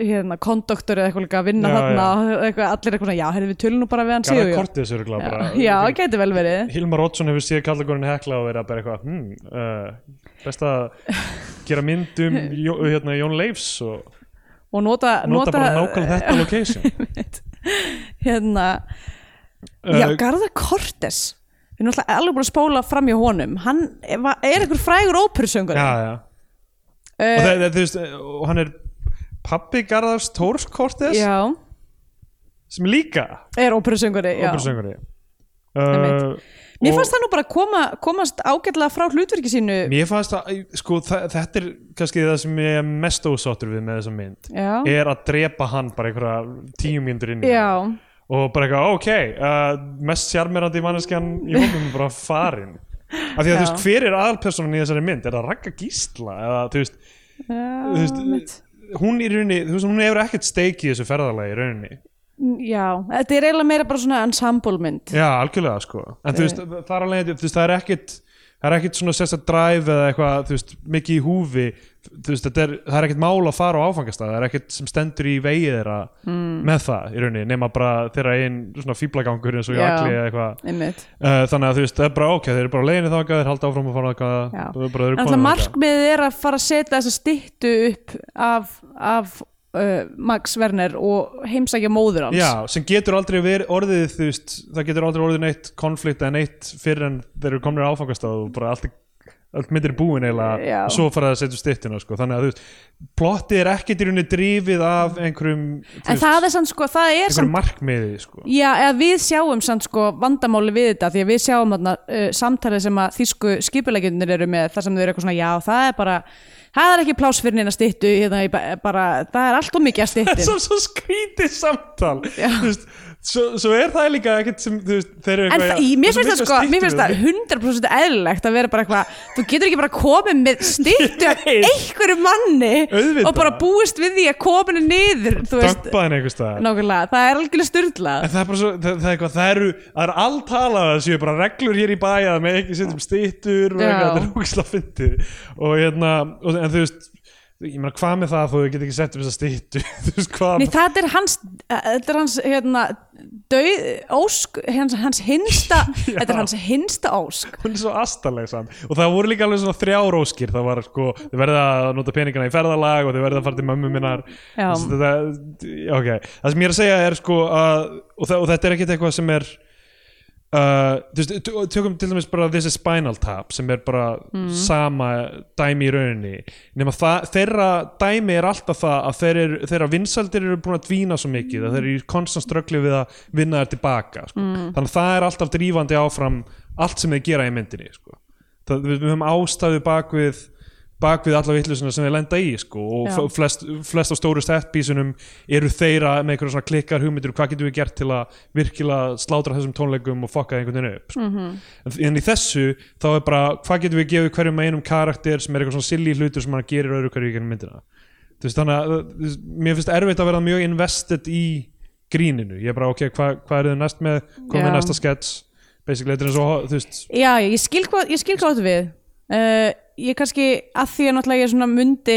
hérna, konduktor eða eitthvað líka að vinna
Já,
þarna og eitthvað, allir eitthvað svona, já, heyrðu við tölum nú bara við hann
Garðar
Sigur
Kortis eru glæð bara
Já, geti vel verið
Hilmar Oddsson hefur séð kallagurinn hekla og verið að bara eitthvað hmm, uh, best að gera mynd um Jó, hérna, Jón Leifs og
og nota,
nota, bara nákvæmlega þetta
<laughs>
location
hérna, já,
Uh,
Garðar Kortes við erum alltaf alveg búin að spóla fram hjá honum hann er er einhver frægur Uh, óperusöngur
Já, já Og það, það, þú veist, og hann er pappi Garðars Tórs Kortis
já,
sem er líka
er óperusönguri já.
óperusöngari
Einmitt.
Eh,
mér
og-
fannst það nú bara koma, komast ágætlega frá hlutverki sínu
Mér fannst að, sko, þa- þetta er kannski það sem ég er mest ósáttur við með þessa mynd
já,
er að drepa hann bara einhverja tíu mínútur inn í hana.
já
og bara eitthvað, ok, uh, mest sjarmerandi manneskjan í hóknum er bara farin af því að þú veist,
Já.
hver er aðalpersonan í þessari mynd? Er það Ragga Gísla? Eða, þú veist,
Já,
þú veist,
mitt.
hún í rauninni, þú veist, hún hefur ekkert steik í þessu ferðalagi í rauninni
já, þetta er eiginlega meira bara svona ensemblemynd
Já, algjörlega sko En
Eh.
þú veist, þar alveg, þú veist, það er ekkit það er ekkit svona sérst að drive eða eitthvað, þú veist, mikið í húfi þú veist, þetta er, það er ekkit mál að fara á áfangastað það er ekkit sem stendur í vegi þeirra
Hmm.
með það í rauninni, nema bara þeirra einn svona fíblagangur eins og
Já.
ég allir eða eitthvað
einmitt
Uh, þannig að þú veist, það er bara ok, þeir eru bara á leiðinni þangað, þeir halda áfram að fara þangað
Já.
það er bara þeir eru
Alltaf
komin þangað.
markmiðið er að fara að setja þessa styttu upp af, af uh, Max Werner og heimsækja móður hans
Já, sem getur aldrei verið orðið þú veist, það getur aldrei orðið neitt konflikt eða neitt fyrir en þeir eru komin á áfangastað og bara allt, allt myndir búin eiginlega,
Já.
svo fara það að setja styttuna sko. þannig að þú veist, plottið er ekkert í rauninni drifið af einhverjum þú
en
veist,
það er samt sko, það er samt
einhverjum markmiði sko.
Já, eða við sjáum samt sko vandamáli við þetta því að við sjáum þarna uh, samtalið sem að þýsku skipulegjundir eru með þar sem þau eru eitthvað svona já, það er bara það er ekki pláss fyrir neina styttu hérna, í ba- bara, það er allt og mikið að
<laughs>
styttin
svo, svo skrítið samtal Þú veist, svo, svo er það líka ekkert sem þú veist, þeir eru
En
eitthvað
það,
já,
í, mér finnst
myndi
það sko,
að
mér finnst það
styttu
100% eðlilegt að vera bara eitthvað, þú getur ekki bara komið með styttu af
Nei.
einhverju manni
Auðvitað.
og bara búist við því að koma henni niður, þú veist,
Dumpa henni einhvers staðar.
nákvæmlega, það er algjörlega styrlað.
En það er bara svo, það, það er eitthvað, það eru, það eru alltalað að það séu bara reglur hér í bæja með ekki setjum stýttur og
Já.
eitthvað, þetta er húksla fyndið og hérna, og, en þú veist, ég meina hvað með það þó þau get ekki sett um þessa stýttu, <laughs> þú veist hvað,
Nei, það er hans, þetta er hans hérna, döið, ósk hans, hans
<laughs>
hinsta, þetta er hans hinsta ósk
hún er svo astaleg samt og það voru líka alveg svona þrjár óskir, það var sko, þau verða að nota peningana í ferðalag og þau verða að fara til mömmu minnar,
Já.
Þú veist, þetta, ok, það sem ég er að segja er sko að, og, það, og þetta er ekkit eitthvað sem er, Uh, þú veist, tö- tökum til dæmis bara This is Spinal Tap sem er bara sama dæmi í rauninni nema það, þeirra dæmi er alltaf það að þeir eru, þeirra vinsaldir eru búin að dvína svo mikið að þeir eru í konstant ströggli við að vinna þær tilbaka sko. þannig að það er alltaf drífandi áfram allt sem þeir gera í myndinni sko. það, við, við höfum ástæðu bak við bak við alla vitlusina sem þeir lenda í sko, og
Já.
f- flest, flest á stóru stættbísunum eru þeirra með einhverjum svona klikkar hugmyndir og hvað getum við gert til að virkilega slátra þessum tónleikum og fokka einhvern veginn upp sko.
Mhm.
en, en í þessu þá er bara hvað getum við gefið hverjum einum karakter sem er eitthvað svona silly hlutur sem hann gerir öðru hverju í gennum myndina Þú veist, þannig að þú veist, mér finnst erfitt að vera mjög invested í gríninu, ég er bara ok, hvað hva er þið næst með komið
Já.
næsta skets basically, þetta er eins og, þú veist
Já, já, ég skil hvað, ég skil hvað áttu við uh, Ég kannski, að því að náttúrulega ég svona mundi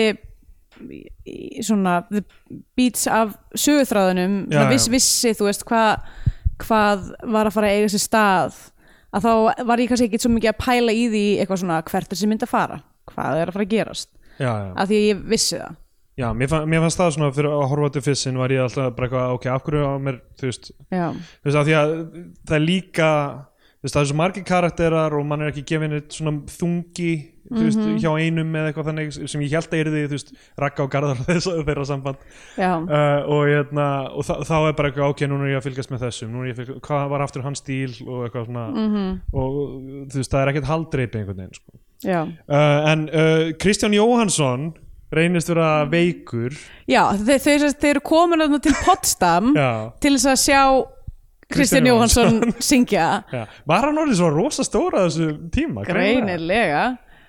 í- í svona the beats af söguþráðunum
Já,
svona viss,
já.
vissi, þú veist, hvað hvað var að fara að eiga sér stað að þá var ég kannski ekki svo mikið að pæla í því eitthvað svona hvert er sem myndi að fara hvað er að fara að gerast,
já, já.
að því að ég vissi það
Já, mér, fann, mér fannst það svona fyrir að horfa til fyrst var ég alltaf bara eitthvað, ok, af hverju á mér þú veist,
Já,
þú veist, af því að það er líka, þú veist, það er svo margir karakterar og mann er ekki gefin eitt svona þungi, þú veist, hjá einum eða eitthvað þannig sem ég held að yrði, þú veist Ragga og Garðar og <laughs> þess, þeirra samband
já,
uh, og, hérna, og þa þá er bara eitthvað, ok, núna er ég að fylgjast með þessum núna er ég að fylgjast, hvað var aftur hans stíl og eitthvað svona, og þú veist, það er ekkert haldreipi einhvern veginn, sko
já
uh, en uh, Kristján Jóhansson reynist vera veikur
Já, þau, þau, þau, þau eru komin þarna til Potsdam
Já,
til þess að sjá
Kristján
Kristján Jóhansson syngja
já. Var hann orðið svo rosa stóra á þessu tíma? Greinilega.
greinilega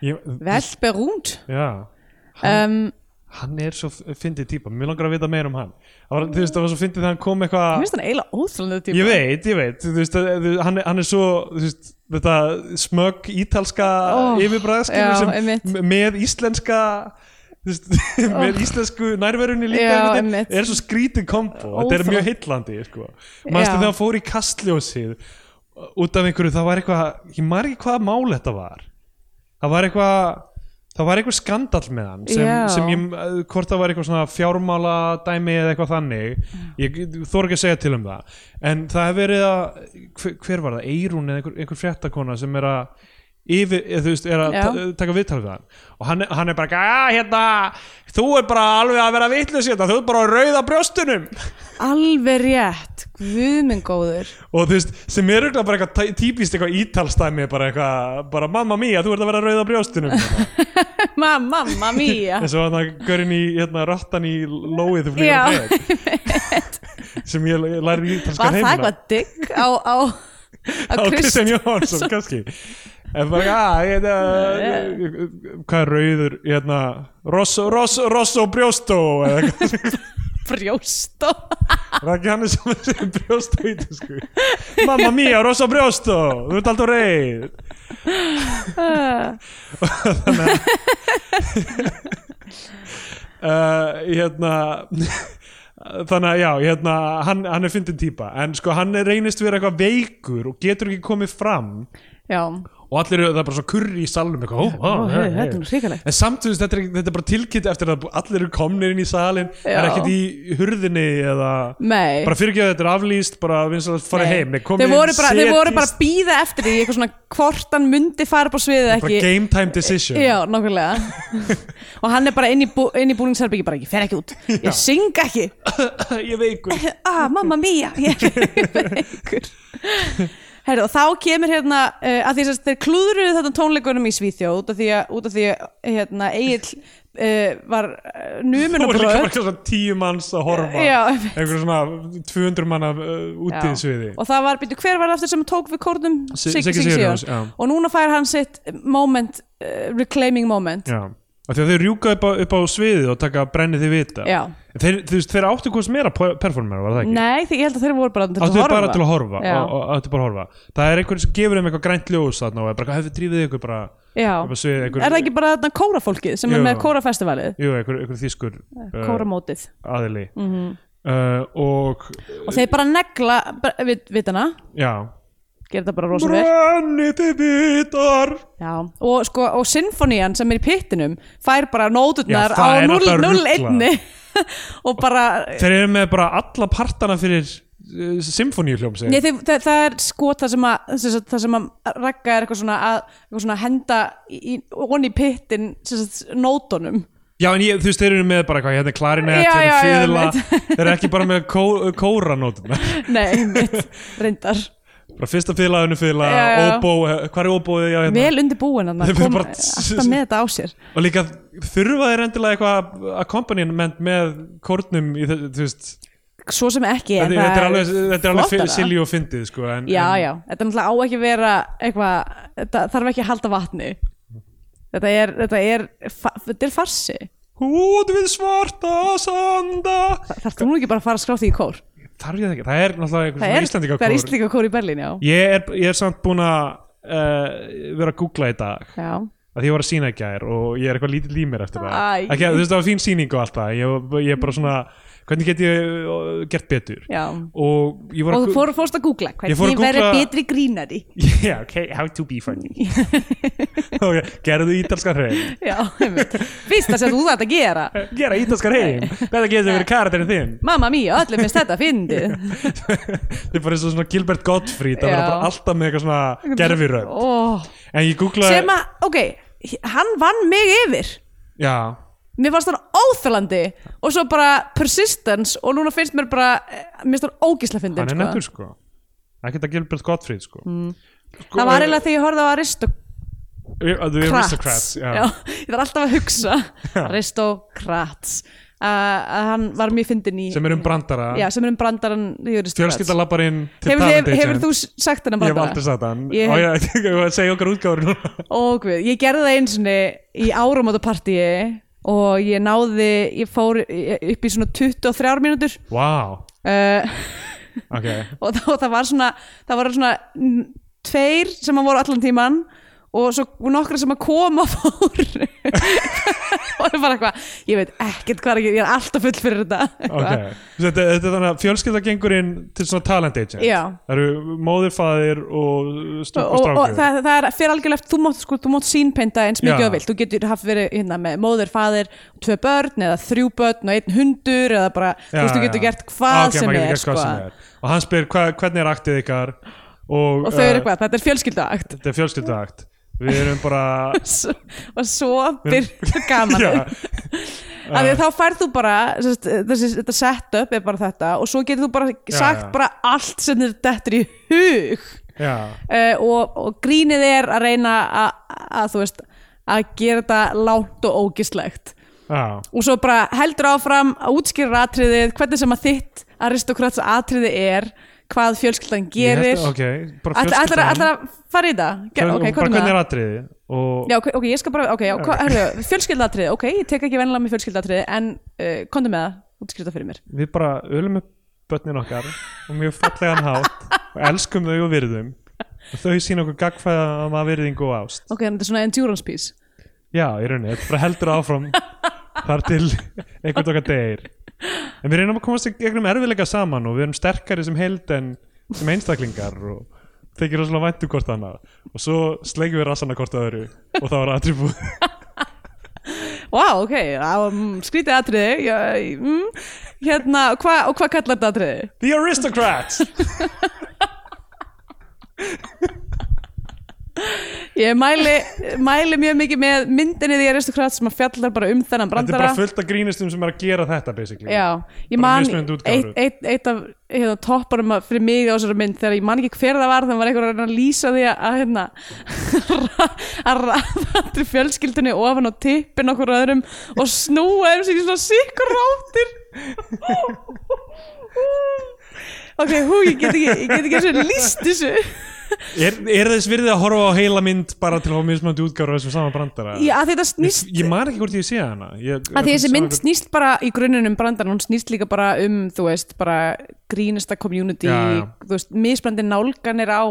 Ég,
velberúnd
já,
um,
hann er svo f- fyndið típa. Mér langar að vita meira um hann. Það var, þú veist, það var svo fyndið þegar hann kom eitthvað...
Mér finnst hann eiginlega óþrólandi
Ég veit, ég veit, þú veist, að- þú- hann, er- hann er svo, þú veist, þetta smög ítalska
Ó,
oh,
já,
sem
einmitt. Oh.
m- með íslenska, þú veist, <laughs> með íslensku nærverunni líka,
Já,
einhvern veginn,
einmitt.
er svo skrítið kombo, þetta er
Óþol-
mjög heillandi, sko. Manstu
Já.
þegar hann fór í kastljósið út af einhverju, það var eitthvað, ég maður ekki hvaða mál þetta var, það var eitthvað, Það var eitthvað skandall með hann sem,
Já.
sem ég, eh, hvort það var eitthvað svona fjármála dæmi eða eitthvað þannig ég þór ekki að segja til um það en það hefur verið að hver, hver var það, Eirún eða einhver, einhver fréttakona sem er að yfir, eða, þú veist, er að
Já.
ta taka viðtal við hann og hann, er- hann er bara að hérna, þú er bara alveg að vera vitlaus hérna, þú er bara að rauða brjóstunum <laughs>
Alveg rétt, guðminn góður <laughs>
og þú veist, sem er auðvitað bara eitthvað tæ- típist eitthvað ítalstæmi bara eitthvað, bara mamma mía, þú ert að vera að rauða brjóstunum
Ma, Mamma mía
eins og hann að görinn í hérna, rattan í lóið þú flýgur
Já.
á breg sem ég læri í ítalska
Var það
heimina
eitthvað digg á, á, á
<laughs> á Kristján
Kristján <laughs>
Jóhansson, kannski en bara, að, hérna hvað er rauður, hérna Rosso, Rosso, Rosso Brjóstó eða eitthvað,
Brjóstó <laughs>
það er ekki hann sem er sem Brjóstó í þessu Mamma mía, Rosso Brjóstó, þú ert alltaf reið <laughs> uh, hérna þannig að já, hérna hann, hann er fyndin típa, en sko hann er reynist vera eitthvað veikur og getur ekki komið fram
já,
og allir eru það er bara svo kurri í salnum eitthvað, ó, ó,
Ó,
hei,
hei, þetta er nú hrikalegt.
en samt þú veist, þetta er, ekki- þetta er bara tilkynnt eftir að allir eru komnir inn í salin það er
Já.
ekkert í hurðinni eða
nei
bara fyrirgeðu þetta er aflýst bara vinsalegt fara
Nei.
heim Nei, komið
þeir
inn,
voru bara, þeir voru bara
setjist.
að býða eftir því eitthvað svona hvort hann myndi fara upp á sviðið eða
bara
ekki
game time decision
já,
<laughs>
nákvæmlega og hann er bara inn í, bú, inn í búningsherbyggi bara ekki,
<laughs>
fer ekki út, ég syng ekki
<coughs> ég veikur
ah, mamma mia ég veikur Herðu, og þá kemur hérna uh, að því að þeir klúðruðu þetta tónleikunum í Svíþjóð út af því að, út af því að hérna, Egil uh, var numin
það
og
voru líka
bröð
bara svona tíu manns að horfa
Já, einmitt.
einhver svona 200 manna uh, úti í sviði
og það var, byrju, hver var aftur sem tók við kórnum
Si- Siggi Sigurjóns, já.
og núna fær hann sitt moment uh, reclaiming moment
já Af því að þeir rjúka upp á, upp á sviðið og taka brennið þið vita
Já.
þeir, þú veist, þeir áttu hvers meira pe- performer var það ekki?
nei, því, ég held að þeir voru bara
áttu
til að horfa
bara til að horfa,
já,
og, og, áttu bara að horfa. það er einhvern sem gefur þeim eitthvað grænt ljós þarna og er bara, hefur drífið ykkur bara
já.
upp á sviðið
er það
einhver,
ekki bara þarna kórafólkið sem
Jú.
er með kórafestivalið
jú, einhver, einhver þýskur uh,
kóramótið
aðili
Mhm.
uh, og
og þeir bara negla bara, vit, vitana,
já
gera þetta bara rosa vel
brennið þið vitar
Já, og, sko, og sinfonían sem er í pittinum fær bara nóturnar
Já, það
á
er náttúrulega
0-1 <laughs> og bara
þeir eru með bara alla partana fyrir uh, symfóníuhljóm
Nei, þeir, það, það er sko það sem að, sem sagt, það sem að ragga er eitthvað svona að eitthvað svona að henda í, í, onni í pittin sem sagt, nótunum
já en ég, þú veist þeir eru með bara hvað, hérna er klarinett,
Já,
hérna er
já, já,
fíðla
einmitt.
<laughs> þeir eru ekki bara með kó, kóranótum
<laughs> Nei, mitt, reyndar
bara fyrsta fíðla, önnu fíðla,
Já, já, já.
óbó eh, hvar er óbóið, já hérna
Vel undirbúin
Þeir
hann að
eru
koma
bara-
alltaf með þetta á sér
og líka þurfa þeir endilega eitthvað accompaniment með kórnum í þe- þú veist
Svo sem ekki en
þetta, þetta er
það
alveg, þetta er alveg
flottara.
silly og fyndið sko en,
Já,
en,
já, þetta er náttúrulega á ekki að vera eitthvað, þetta þarf ekki að halda vatni Þetta er, þetta er, fa- þetta er farsi
Út við svarta sanda
Þarf þú nú ekki bara að fara að skrátti í kór?
Þarf ég það ekki, það er náttúrulega einhver
Það
svona
er, það er
íslendingakór
Íslandinga kór í Berlín, já.
ég, er- ég er samt búin að uh, vera að googla í dag
já.
að því ég var að sína í gær og ég er eitthvað lítill í mér eftir það
Æ.
ekki, þú veist það var fín síning og allt það ég, ég er bara svona, hvernig get ég uh, gert betur
Já.
og ég var
Og
að
þú fór, fórst að googla
Ég fór að
hvernig verður
googla-
betri grínari. <laughs>
<laughs> yeah, okay, how to be funny okay, gerðu ítalskan hrein
Já, einmitt. Fyrsta sem þú þarft að gera.
gera ítalskan
<laughs>
hrein, þetta getur verið karakterinn þinn
Mamma mía, öllum finnst þetta fyndið.
þetta er bara eins og svona Gilbert Gottfried það
Já.
var bara alltaf með eitthvað svona gerfirönd
Ó,
en ég googlaði
sem að, ok, hann vann mig yfir.
já,
Mér fannst hann óþjólandi og svo bara persistence og núna finnst mér bara, eh, mér finnst hann ógísla fyndið.
hann er nettur sko ekkert að Gilbert Gottfried sko eh, mm.
Það var eiginlega þegar ég horfði á Aristocrats.
Aristocrats já.
já. Ég þarf alltaf að hugsa Aristocrats. Uh, að hann var mjög fyndin í
sem er um brandara
Já, sem er um brandarann í Aristocrats
fjölskylda lappar inn til
hefur,
talent
hefur, hefur
agent.
þú sagt hennar
um ég hef aldrei
brandara?
sagt hann
Ég-
og <laughs> ég ég var að segja okkar útgáður núna
Ó, guð, ég gerði það eins og í áramótapartíi og ég náði, ég fór upp í svona 23 mínútur
wow,
uh,
ok
og þá, það var svona það var svona mm, tveir sem að voru allan tíman og svo nokkra sem að koma <laughs> fór og það var eitthvað ég veit ekkert hvað er að gera, ég er alltaf full fyrir þetta
Ok,
Eitthvað.
þetta, þetta er þannig að fjölskylda gengur inn til svona talent agent
Já.
Það eru móðir, faðir og stúk
og,
og
og, og
strákur
það, það er fyrir algjörlega eftir- þú mátt, sko, þú mátt sínpeinta eins mikið
Já.
og vilt þú getur haft verið hérna, með móðir, faðir tvö börn eða þrjú börn og einn hundur eða bara, þú veist, þú
Já,
getur
já.
gert hvað
Ok,
sem
maður
er
getur gert
sko.
hvað sem er. Og hann spyr hva, hvernig er aktið ykkar Og,
og þau eru
eh,
eitthvað, þetta er fjölskyldaakt
Þetta er fjölskyldaakt Við erum bara
S- <laughs> og svo byrjar
<laughs>
gaman
Já,
af
Ah.
því að þá færð þú bara sest, þessi, þetta setup er bara þetta og svo getur þú bara sagt
já.
bara allt sem þér dettur í hug
já,
uh, og, og grínið er að reyna að- að þú veist að gera þetta lágt og ógislegt
já
og svo bara heldur áfram að útskýra atriðið, hvernig sem að þitt aristokrats atriðið er hvað fjölskyldan gerir
Ég held að- Ok, bara
Ætlar- ætlar
fjölskyldan
að- ætlar að fara í það? Ger-
Bara
Ok, hvernig
hvernig
það?
er atriði Og
Já, ok, ok, ég skal bara, ok, já, hva, herru, fjölskyldatriði, ok, ég tek ekki vennilega með fjölskyldatriði en uh, komdu með það, útskýrta fyrir mér
við bara ölum upp börnin okkar Og mjög fallegan hátt Og elskum þau og virðum Og þau sína okkur gagfæða virðingu og ást
Ok, en þetta er svona endurance piece
Já, í rauninni, þetta bara heldur áfram þar til einhvern okkar degir En við reynum að komast í gegnum erfiðleika saman og við erum sterkari sem held en sem einstaklingar og þykir rosalega væntum hvort annað og svo slengjum við rassana hvort að öðru og það var aðri búið
Vá, ok, það var mm, skrítið atriði já, mm, Hérna, hva, og hvað kallar þetta atriði?
The
<laughs>
Aristocrats
Ég mæli, mæli mjög mikið með myndinni því aristokrat sem að fjallar bara um þennan
Þetta er
brandara
bara fullt af grínistum sem er að gera þetta basically
Já, ég
Bara
man
mismunandi útgáfur.
eitt, eitt, eitt af hérna, topparum að- fyrir mig á þessari mynd þegar ég man ekki hver það var þannig var einhver að reyna að lýsa því að að, hérna, <laughs> að ræða allir fjölskyldunni ofan á tippin okkur öðrum og snúa þeim sig í svona sikkur ráttir Ok, hú, ég get ekki, ég get ekki eins og lýst þessu <laughs>
er, er þess virðið að horfa á heila mynd bara til að hafa mismöndi útgáru þessum sama brandara
Já, að þetta
ég,
snýst
ég man ekki hvort ég sé hana ég,
að því þessi
sama
mynd
hvort-
snýst bara í grunninn um brandarann, hún snýst líka bara um þú veist, bara grínasta community,
Já, já.
þú veist, misbrandi nálganir á,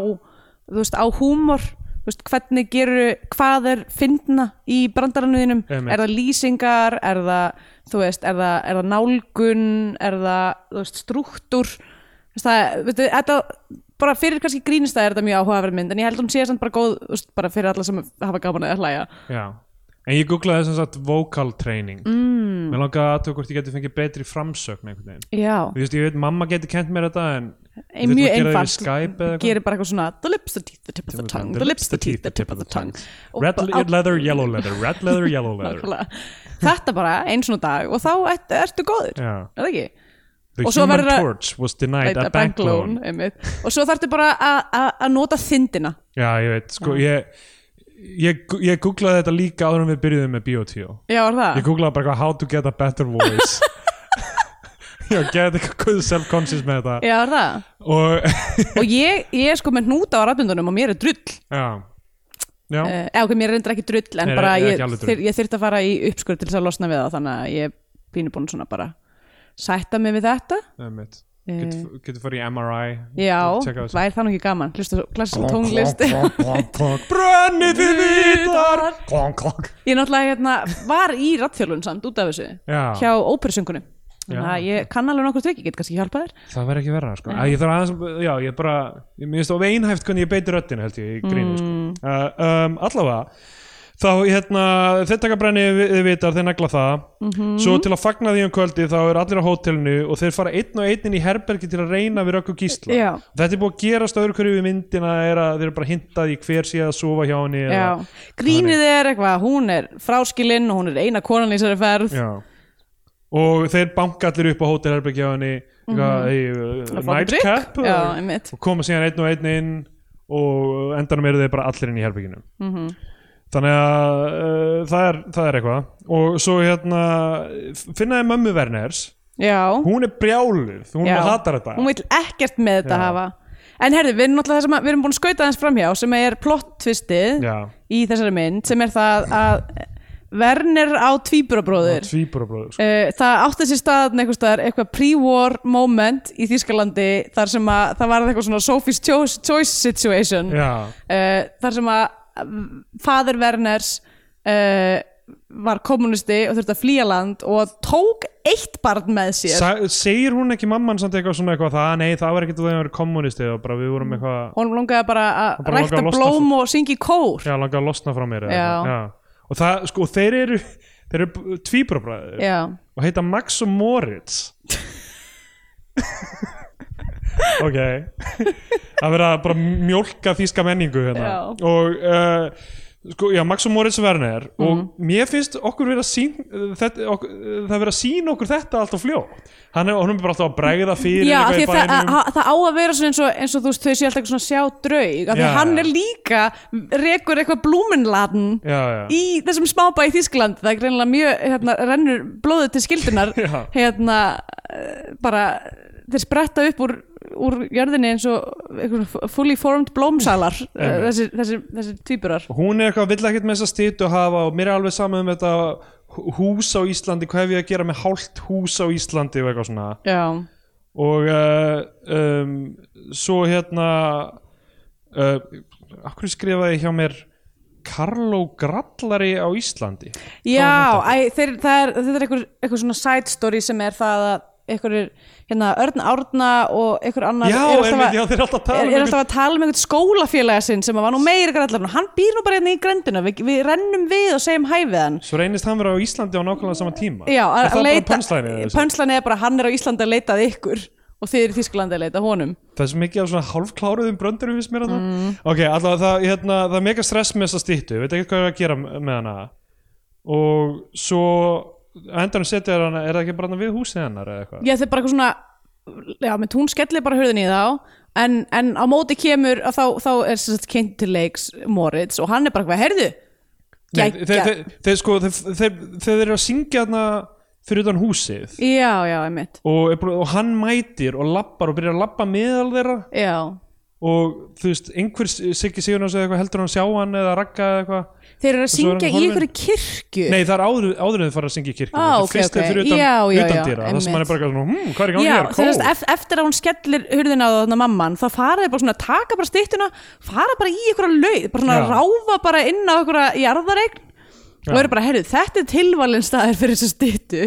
þú veist, á húmor þú veist, hvernig gerur hvað er fyndna í brandarannuðinum
Einmitt.
er það lýsingar, er það þú veist, er það, er það nálgun er það, þú veist, struktúr þú veist, það, veistu, þetta bara fyrir kannski grínista er þetta mjög áhugaverð mynd en ég held að hún sé samt bara góð, þú veist, bara fyrir alla sem hafa gaman að hlæja
Já. En ég googlaði þess að vocal training mm. Mér langaði að hvort ég geti fengið betri framsögn einhvern veginn
Já.
Þú veist, ég veit, mamma geti kent mér þetta en
Ein,
Þú
mjög
veist, maður gerir það
einfalt,
yfir Skype eða eitthvað.
gerir bara eitthvað svona the lips, the teeth, the tip of the tongue the lips, the teeth, the tip of the tongue Og
Red
bara-
le- leather, yellow leather Red leather,
<laughs>
yellow leather
Nákvæmlega. þetta bara eins og dag og þá ert, ertu góður,
Já.
er það ekki?
The
Og svo
human
verður að-
torch was denied
Þetta
a bank loan
einmitt. og svo þarftu bara að- að að nota þindina
Já, ég veit, sko, ég Ég, ég googlaði þetta líka áður en við byrjuðum með Biotio
já, er
Ég
það?
googlaði bara eitthvað how to get a better
<laughs>
voice Já, get eitthvað good self-conscious með þetta
Já, er það?
Og, <laughs>
og ég, ég er sko með hnúta á rafbundunum og mér er drull
já Já,
Eh, eða ok, mér er reyndar ekki drull en
Nei,
bara
nei,
ég,
ekki alveg drull.
þyr, ég þyrfti að fara í uppskur til þess að losna við það þannig að ég er pínu búin svona bara sætta mig við þetta
einmitt
eh.
Getur getur farið í MRI
Já,
Checka þessu.
væri það nú ekki gaman Hlusta svo klassisk tónlist
Brennið þið vitar
Vitar. Ég náttúrulega hérna, var í rattþjálfun samt út af þessu
Já.
hjá óperusöngunum Þannig
Já.
að ég kann alveg nokkur tryggi, get kannski hjálpa þér
Það verður ekki verra sko. Æ, Ég þarf aðeins, já, ég bara Ég minnst á veinhæft hvernig ég beiti röddin held ég í grínu sko.
Mm.
uh, um, Allavega Þá hérna, þeir taka brenni við vitar, þeir negla það
Mhm.
Svo til að fagna því um kvöldi þá er allir á hótelinu og þeir fara einn og einn inn í herbergi til að reyna við rökk og gísla
Já.
Þetta er búið að gerast öðru hverju við myndina er að þeir eru bara hintað í hver sé að sofa hjá henni
Já.
eða-
Grínið er eitthvað, hún er fráskilinn og hún er eina konan í þessari ferð
Já. og þeir banka allir upp á hótelherbergi á henni mm -hmm.
Mhm. Að fá
nightcap
drykk? Já, einmitt.
og koma síðan einn og einn inn og endanum eru þeir bara allir inn í herberginu
Mhm.
þannig að uh, það, er, það er eitthvað og svo hérna finnaði mömmu Werners
Já.
hún er brjáluð, hún
Já.
hatar þetta
Hún vil ekkert með þetta
Já.
hafa En herðu, við erum náttúrulega það sem að, við erum búin að skauta þess framhjá sem er plottvistið
Já.
í þessari mynd sem er það að Werner á tvíburabróður
tvíburabróður sko.
Uh, það átti sér staðan einhvers staðar eitthvað pre-war moment í Þýskalandi þar sem að það var eitthvað svona Sophie's Choice, choice situation uh,
Já.
þar sem að fadur Werners uh, var kommunisti og þurfti að flýja land og tók eitt barn með sér
Sa segir hún ekki mamman samt eitthvað svona eitthvað það, nei það var ekkert að það var kommunisti og bara við vorum
Mm.
eitthvað
hún langaði bara að
bara
rækta
langaði að losna
blóm og syngja í kór
Já, langar að losna frá mér eða
Já.
eitthvað, Já. Og, það, sko, og þeir eru, þeir eru tvíbrabræður
Já.
og heita Max og
<laughs>
Moritz Ok Það verða bara að mjólka þýska menningu hérna
Já.
og uh, sko, já, Max og Moritz Werner
Mhm.
og mér finnst okkur verið að sín þetta, okkur, það verið að sín okkur þetta alltaf fljó hann er, honum er bara alltaf að bregða fyrir
Já, af
eitthvað í
því að það, að,
bænum.
að, það á að vera svona eins og, eins og þú veist, þau séu alltaf eitthvað svona sjá draug af því
Já.
að hann er líka rekur eitthvað blúminladen
Já, já.
í þessum smábæ í Þýsklandi það er greinilega mjög, hérna, rennur blóðið til skildunar
<laughs> Já.
hérna, eh, bara þeir spretta upp úr, úr jörðinni eins og einhver svona fully formed
<laughs>
blómsalar eh, þessi, þessi, þessi tvíburar
Og hún er eitthvað, vill ekkert með þessa stýtu hafa og mér er alveg saman um þetta hú- hús á Íslandi, hvað hef ég að gera með hálft hús á Íslandi og eitthvað svona
Já,
og uh, um, svo hérna uh, akkur skrifaði hjá mér Karlo Grallari á Íslandi
Já æ, þeir, það er, þetta er eitthvað, eitthvað svona side story sem er það að einhverjir, hérna, Örn Árna og einhver annar
já,
er alltaf
einmitt,
að-
já, þeir eru alltaf að tala
er,
um
er
einhvern-
alltaf að tala um einhvern skólafélaga sinn sem að var nú meiri grallarinn og hann býr nú bara hérna í grendina við, við rennum við og segjum hæ við hann
Svo reynist hann vera á Íslandi á nákvæmlega sama tíma
já,
Er það bara pönstæðinni
pönslæni pönslæni er bara hann er á Íslandi að leitað ykkur og þið eru í Þísklandi að leita honum
Það er svo mikið af svona hálfkláruðum bröndurum finnst mér að það Ok, allavega það, hérna, það er mega stress með þessa stýttu Ég veit ekki hvað er að gera með hana Og svo á endanum setja þér hana, er það ekki bara hana við húsið hennar eða eitthvað?
Já, þeir bara eitthvað svona Já, menn hún skellir bara hurðin í þá en, en á móti kemur að þá, þá er sem sagt kynnt til leiks Moritz og hann er bara eitthvað, heyrðu
Nei,
geggjað."
þeir, þeir, þeir, sko, þeir, þeir, þeir eru að syngja hana fyrir utan húsið
Já, já, einmitt
og, er búin- og hann mætir og lappar og byrjar að lappa meðal þeirra
Já,
og þú veist, einhver Siggi Sigurnáns eða eitthvað heldur hann sjá hann eða ragga eða eitthvað
þeir eru að
svo er hann
syngja í
horfinn.
einhverju kirkju
Nei, það er áður, áður en þið fara að syngja í kirkjum Þetta
Á,
er
Ah, ok,
fyrst þegar
ok.
fyrir utan,
Já, já,
utan dýra
já,
Það sem
einmitt.
hann er bara eitthvað svona, hm, hvað er í gangi
Já,
hér,
þú
kór
veist, ef, eftir að hún skellir hurðin á þarna mamman, þá fara þeir bara svona taka bara styttuna, fara bara í einhverja laug, bara svona
Já.
ráfa bara inn á einhverja jarðaregn og eru bara, heyrðu, þetta er tilvalin staðir fyrir þessu styttu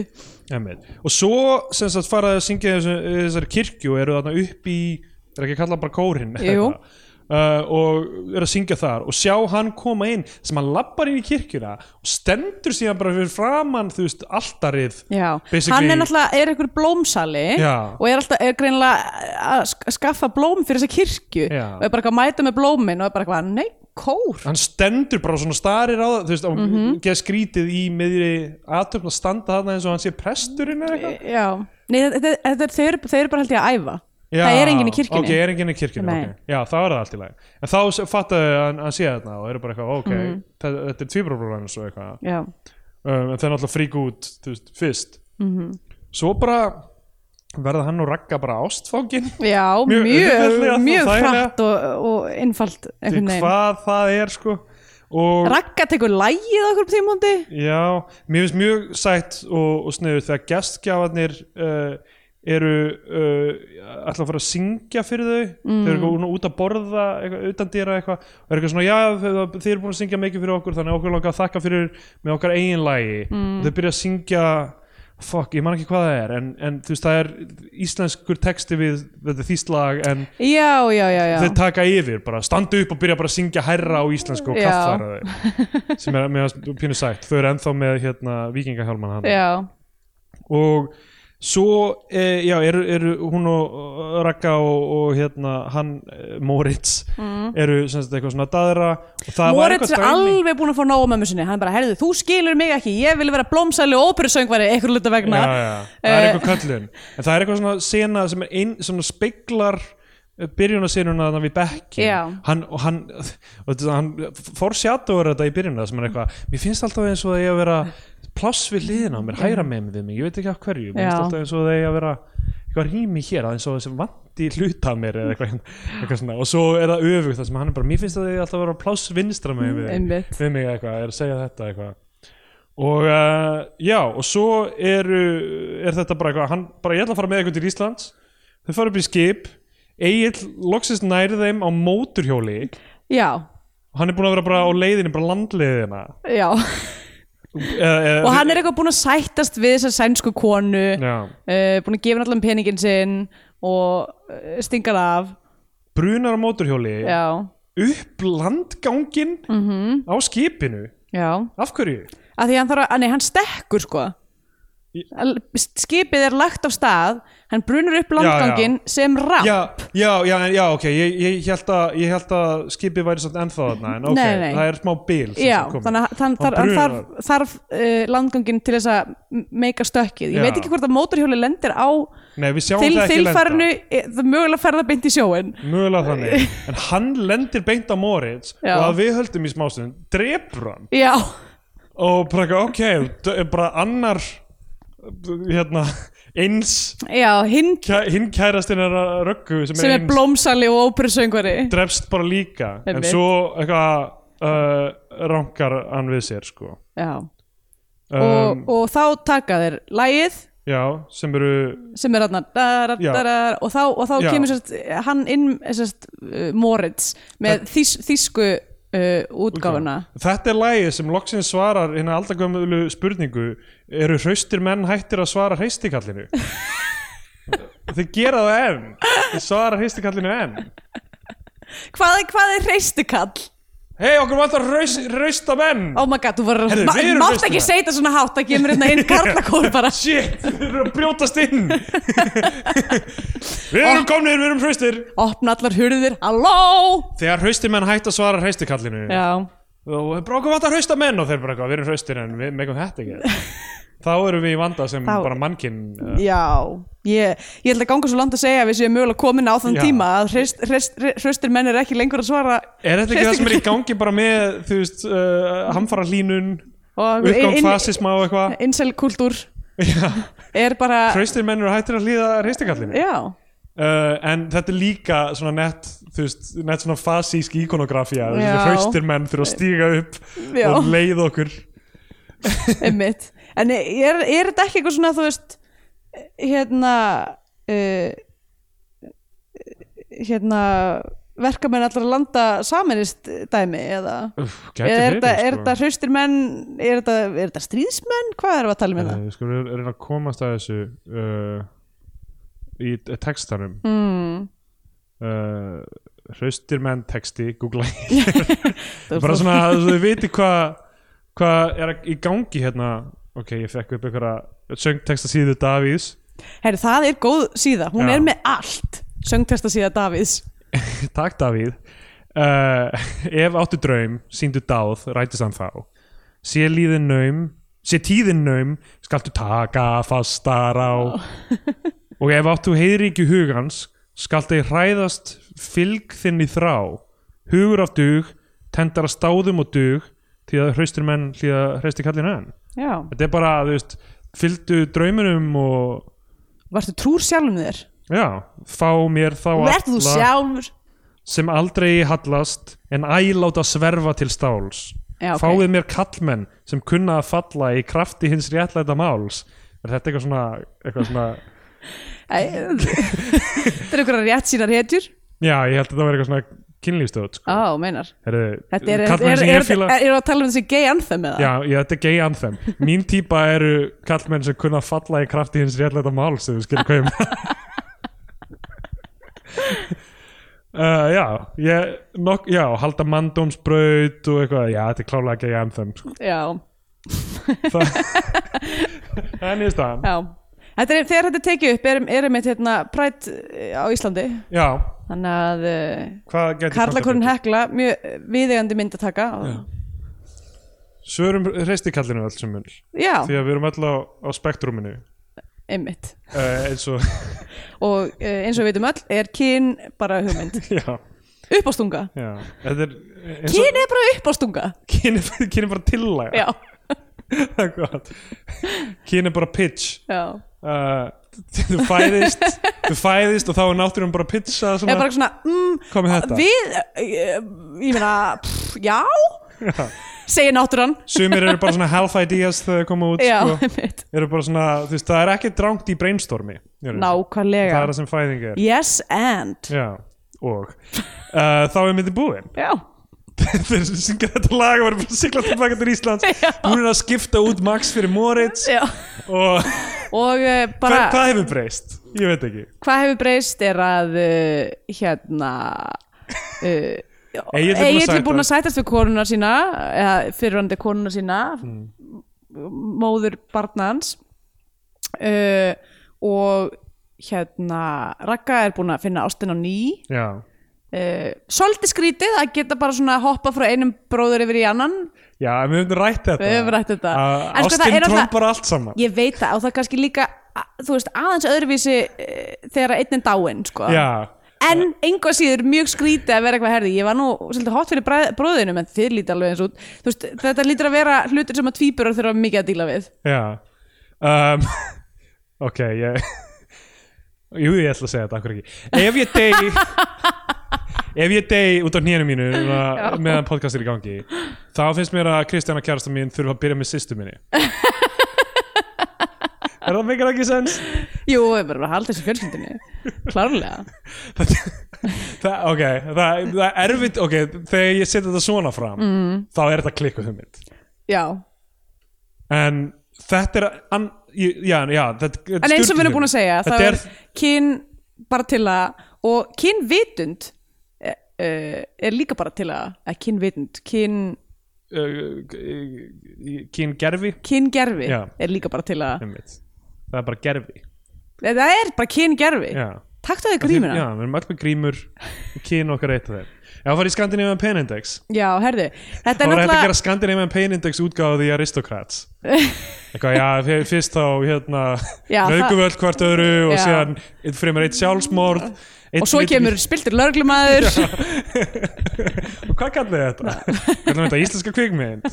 Einmitt. Og svo, sem sagt, fara þið að syngja í þessu- í þessari kirkju og eru þarna upp í er ekki að kalla bara kórinn eða
Jú.
eitthvað? Uh, og er að syngja þar og sjá hann koma inn sem hann lappar inn í kirkjuna og stendur síðan bara fyrir framann þú veist, altarið
Já,
Basically-
hann er náttúrulega er einhver blómsali
Já.
og er alltaf er greinilega að sk- skaffa blóm fyrir þessa kirkju
Já.
og er bara eitthvað að mæta með blómin og er bara eitthvað, nei, kór
hann stendur bara svona starir á það þú veist, mm
Mhm.
geða skrítið í miðri aðtöfn að standa þarna eins og hann sé presturinn eða eitthvað
Já, nei, þetta, þetta, þetta, er- þau, eru, þau eru bara held ég að æfa
Já,
það er enginn í kirkjunni
ok, er enginn í kirkjunni,
Nei.
ok, já, þá er það allt í lagi en þá s- fattaðu að hann- hann sé þarna og eru bara eitthvað, ok,
Mhm.
þetta, þetta er tvíbróbróðan og svo eitthvað,
Já,
um, en það er náttúrulega frík út, þú veist, fyrst
Mhm.
-hmm. svo bara verða hann og ragga bara ástfangin
Já
Mjög
mjög,
auðveldlega og
mjög,
þægilega.
frætt og, og innfalt
til
einhvern veginn
hvað það er, sko og
Ragga tekur lægið á okkur tímundi
Já, mér finnst mjög sætt og, og sniður þegar gestgjafarnir uh, eru uh, alltaf að fara að syngja fyrir þau þau eru eitthvað út að borða eitthvað, utan dýra eitthvað og eru eitthvað svona, já, þau- þið eru búin að syngja mikið fyrir okkur þannig að okkur langar að þakka fyrir með okkar eigin lagi og þau byrja að syngja fuck, ég man ekki hvað það er en, en þú veist, það er íslenskur texti við þetta þýstlag en
Já, já, já, já
þau taka yfir, bara standa upp og byrja bara að syngja herra á íslensku og
Já.
kaffara þau sem er mér fannst pínu sætt þau eru ennþá með hérna vikingahjálman hann
Já,
og svo e, já, eru, eru hún og og Ragga og, og hérna hann e, Moritz eru sem sagt eitthvað svona daðra og það var
Mm. Moritz
eitthvað
er
dæmi-
alveg búin að fá nóg á mömmu sinni hann bara, herðu, þú skilur mig ekki, ég vil vera blómsæli og óperusöngvari, einhver luta vegna
já, já, það er
Eh,
eitthvað kallun en það er eitthvað svona sena sem er ein, svona speiklar byrjunarsenuna þannig við bekkin
Já.
hann, og hann, og þetta- hann fórsjátóður þetta í byrjunna sem er eitthvað mér finnst alltaf eins og það ég að vera pláss við hliðina á mér, hæra með við mig ég veit ekki af hverju, mér finnst
Já.
alltaf eins og það ég að vera eitthvað rými hér, eins og þessi vandi hluta af mér eða eitthvað, eitthvað svona og svo er það öfugt það sem hann er bara, mér finnst að það ég alltaf að vera pláss vinstra með
Einmitt.
við mig eitthvað, er að segja þetta eitthvað og uh, já, og svo eru, er þetta bara eitthvað hann bara ég ætla að fara með eitthvað til Íslands þau fara upp í skip Egil loksist nærið þeim á móturhjóli
já,
og hann er búin að vera bara á leiðinni, bara landleiðina
já. og hann er eitthvað búin að sættast við þessar sænsku konu uh,
já,
búin að gefa henni allan peningin sinn og uh, stingar af
brunar á móturhjóli
já, Mhm.
upp landgangin -hmm. á skipinu
já
af hverju?
að því hann þarf að, að nei, hann stekkur sko
Í-
Al- skipið er lagt á stað hann brunur upp landgangin sem ramp
Já, já, já, en- já ok ég, ég, held að, ég held að skipið væri samt ennþá þarna en ok,
Nei, nei.
það er smá bil sem
Já,
sagt komið.
þannig að hann, þar, hann
brunar.
þarf, þarf uh, landgangin til þess að m- meika stökkið. Ég
Já.
veit ekki hvort að mótorhjóli lendir á
Nei, við sjáum
til
það ekki
þilfarinu, e, það mögulega ferða beint í sjóin.
Mögulega
<laughs>
þannig, en hann lendir beint á Moritz
Já.
og að við höldum í smástund drepur hann
Já,
og bara eitthvað, ok, d- bara annar hérna eins
já, hinn
kæ, hinn kærastinn er að röggu sem,
sem
er
er
eins
blómsali og óperusöngvari.
drefst bara líka en
Einmitt.
svo eitthvað uh, rankar hann við sér sko
Já,
um,
og, og þá taka þeir lægið
já, sem eru
sem er hann
Já.
og þá, og þá
Já.
kemur sérst, hann inn sérst, uh, Moritz með þís, þísku uh, útgáfuna.
þetta er lagið sem loksins svarar
<laughs>
hérna aldagömmulu spurningu eru hraustir menn hættir að svara hreistikallinu þau gera það enn þau svara hristikallinu enn
Hvað, hvað er reistukall?
hei okkur vantar raus, rausta menn
Oh my god, þú var
Heyrðu,
ma
við erum
Mátt ekki
hraustukall.
segja þetta svona hátt að kemur
<laughs>
hérna inn karlakór bara
shit, þeir eru að brjótast
<laughs>
inn við erum komnir, við erum hraustir
Opna allar hurðir, halló
þegar hraustirmenn hætt að svara hristikallinu
Já,
og bara okkur vantar hraustar menn og þeir bara eitthvað, við erum hraustir en við megum þetta
<laughs>
ekki þá erum við í vanda sem
Þá-
bara mannkinn uh,
já Ég, ég held að ganga svo langt að segja að við séum mögulega komin á þann
Já.
tíma að hreist- hreist- hreistir menn er ekki lengur að svara
er þetta ekki það sem er í gangi bara með þú veist, uh, hamfara hlínun
og
uppgang fasisma og eitthvað
inselkultúr
<laughs> Já.
er bara
hraustir menn eru hættir að hlýða hristikallinu
Já,
Uh, en þetta er líka svona nett þú veist, nett svona fasísk íkonografía
Já.
hraustir menn þurfa að stíga upp
Já.
og leið okkur
einmitt en er, er þetta ekki eitthvað svona þú veist hérna uh, hérna verkamenn allra landa saminist dæmi eða
Uff, gæti
Eða
verið,
er þetta, er
sko.
þetta hraustir menn er þetta, er þetta stríðsmenn, hvað erum við að tala um hérna? með það?
Eh, Við skulum re- reyna að komast að þessu uh, í t- textanum
Mm,
uh, hraustir menn texti googla ég. bara
þú veist,
svona að þið viti hvað hva er að- í gangi hérna ok, ég fekk upp einhverja söngtexta síðu Davís
herri, það er góð síða, hún
Já.
er með allt söngtesta síða Davids
Takk Davíð uh, Ef áttu draum, síndu dáð, rætist hann þá Sé líðin naum, sé tíðin naum, skaltu taka fastar á Og ef áttu heiðríki hugans, skaltu hræðast fylg þinn í þrá Hugur af dug, tendar að stáðum og dug Því að hraustir menn hlýða hreisti kallinu enn
Já,
Þetta er bara, þú veist, fylgdu drauminum og
varstu trúr sjálfum þér?
Já, fá mér þá
Verðu þú
alla-
sjálfur?
sem aldrei hallast en æláta sverfa til stáls
Já, ok.
fáið mér kallmenn sem kunna að falla í krafti hins réttlæta máls er þetta eitthvað svona, eitthvað svona
Æ, <laughs> Þetta er einhverja rétt sínar hetjur
já, ég held að það var eitthvað svona kynlýfstöð sko.
Á, meinar
Heyrðu,
Þetta er, er,
kallmenn
er,
sem
er,
ég fíla
er, að tala um þessi gay anthem eða?
já, ég, þetta er gay anthem mín típa eru kallmenn sem kunna að falla í krafti hins réttlæta máls ef þú skilur hvað ég meina. Uh, já, ég, nok, já, halda mandómsbraut og eitthvað, já, þetta er klálega gay anthem
<laughs>
sko.
Já,
það það er nýðstaðan
já. Þetta er, þegar þetta er tekið upp er, er einmitt hérna prætt á Íslandi
já,
þannig að uh,
hvað getur
Karlakorn Hekla mjög eh, viðeigandi mynd að taka og,
svörum reistikallinu öll sem mun
Já,
því að við erum öll á, á spektruminu
einmitt
uh, eins og <laughs>
og uh, eins og við veitum öll er kyn bara hugmynd
<laughs> já,
uppástunga
já, þetta er eins og
Kyn er bara uppástunga
kyn er, kyn er bara tillæg
Já,
það er gott kyn er bara pitch
já
uh, þú fæðist þú fæðist og þá er náttúrum bara að pitcha
Er
svona,
bara svona, mm,
komið þetta
við eh, ég meina, pff, já segir náttúran
sumir eru bara svona half ideas þegar þau koma út
Já,
sko,
einmitt
eru bara svona, þú veist, það er ekki drangt í brainstormi eru. það
Nákvæmlega
er það sem fæðing er
Yes and
Já, og uh, þá er myndin búin
Já,
<laughs> þeir syngja þetta lag og verður bara að sigla tilbaka til Íslands
Já.
hún er að skipta út Max fyrir Moritz
já.
og
Og uh,
hva,
bara,
hvað hefur breyst? Ég veit ekki
hvað hefur breyst er að uh, hérna uh,
Egill er búinn að
er
sætast.
búin að sætast við konuna sína eða fyrirrandi konuna sína
Mm.
móður barnans uh, og hérna Ragga er búin að finna ástin á ný
Já,
uh, svolítið skrítið að geta bara svona hoppa frá einum bróður yfir í annan
Já en við höfum rætt þetta
Við höfum rætt þetta.
Að
En sko, það
Ástin
er alltaf-
trombar allt saman
ég veit það og það er kannski líka a- þú veist aðeins öðruvísi uh, þegar einn er dáinn sko.
Já,
en engu að síður mjög skrítið að vera eitthvað herði ég var nú svolítið hot fyrir bræð, bróðinum en þið líti alveg eins út Þú veist, þetta lítur að vera hlutur sem að tvíburar þurfa mikið að díla við
já um, <laughs> Ok, ég <laughs> Jú, ég ætla að segja þetta, akkur ekki Ef ég dey
<laughs>
Ef ég dey út á hnýjanum mínu núna meðan podcast er í gangi þá finnst mér að Kristjana kærasta mín þurfa að byrja með sýstu
<laughs>
minni Er það mikil ekki sens?
jú, við verðum að halda þessu fjölskyldinni klárlega
það, ok, það, það er erfitt ok, þegar ég setja þetta svona fram
Mm.
þá er þetta klikkuð hugmynd
já.
en þetta er an, já, já, þetta,
en eins og við erum búin að segja
þetta
það
er,
er kyn bara til að og kynvitund eh, eh, er líka bara til að að kynvitund, kyn,
uh, kyn gerfi
kyngerfi
Já.
er líka bara til að
einmitt. það er bara gerfi
það er bara kyngerfi
já.
taktu þau grímina
já, við erum öll með grímur og kyn okkar eitt af þeim já, það var í Scandinavian Pain Index
já, herðu, þetta
Það var hægt
er
að
náttúrulega
gera Scandinavian Pain Index útgáðu því
<laughs>
Aristocrats Eitthvað, já, fyr- fyrst þá hérna,
Já,
naukum við öll hvort öðru og
Já.
síðan einn fremur eitt sjálfsmorð einn
og svo
vill-
kemur
<laughs>
spiltir lörglumæður
og hvað kallir þetta? Hvernig er þetta íslenska kvikmynd?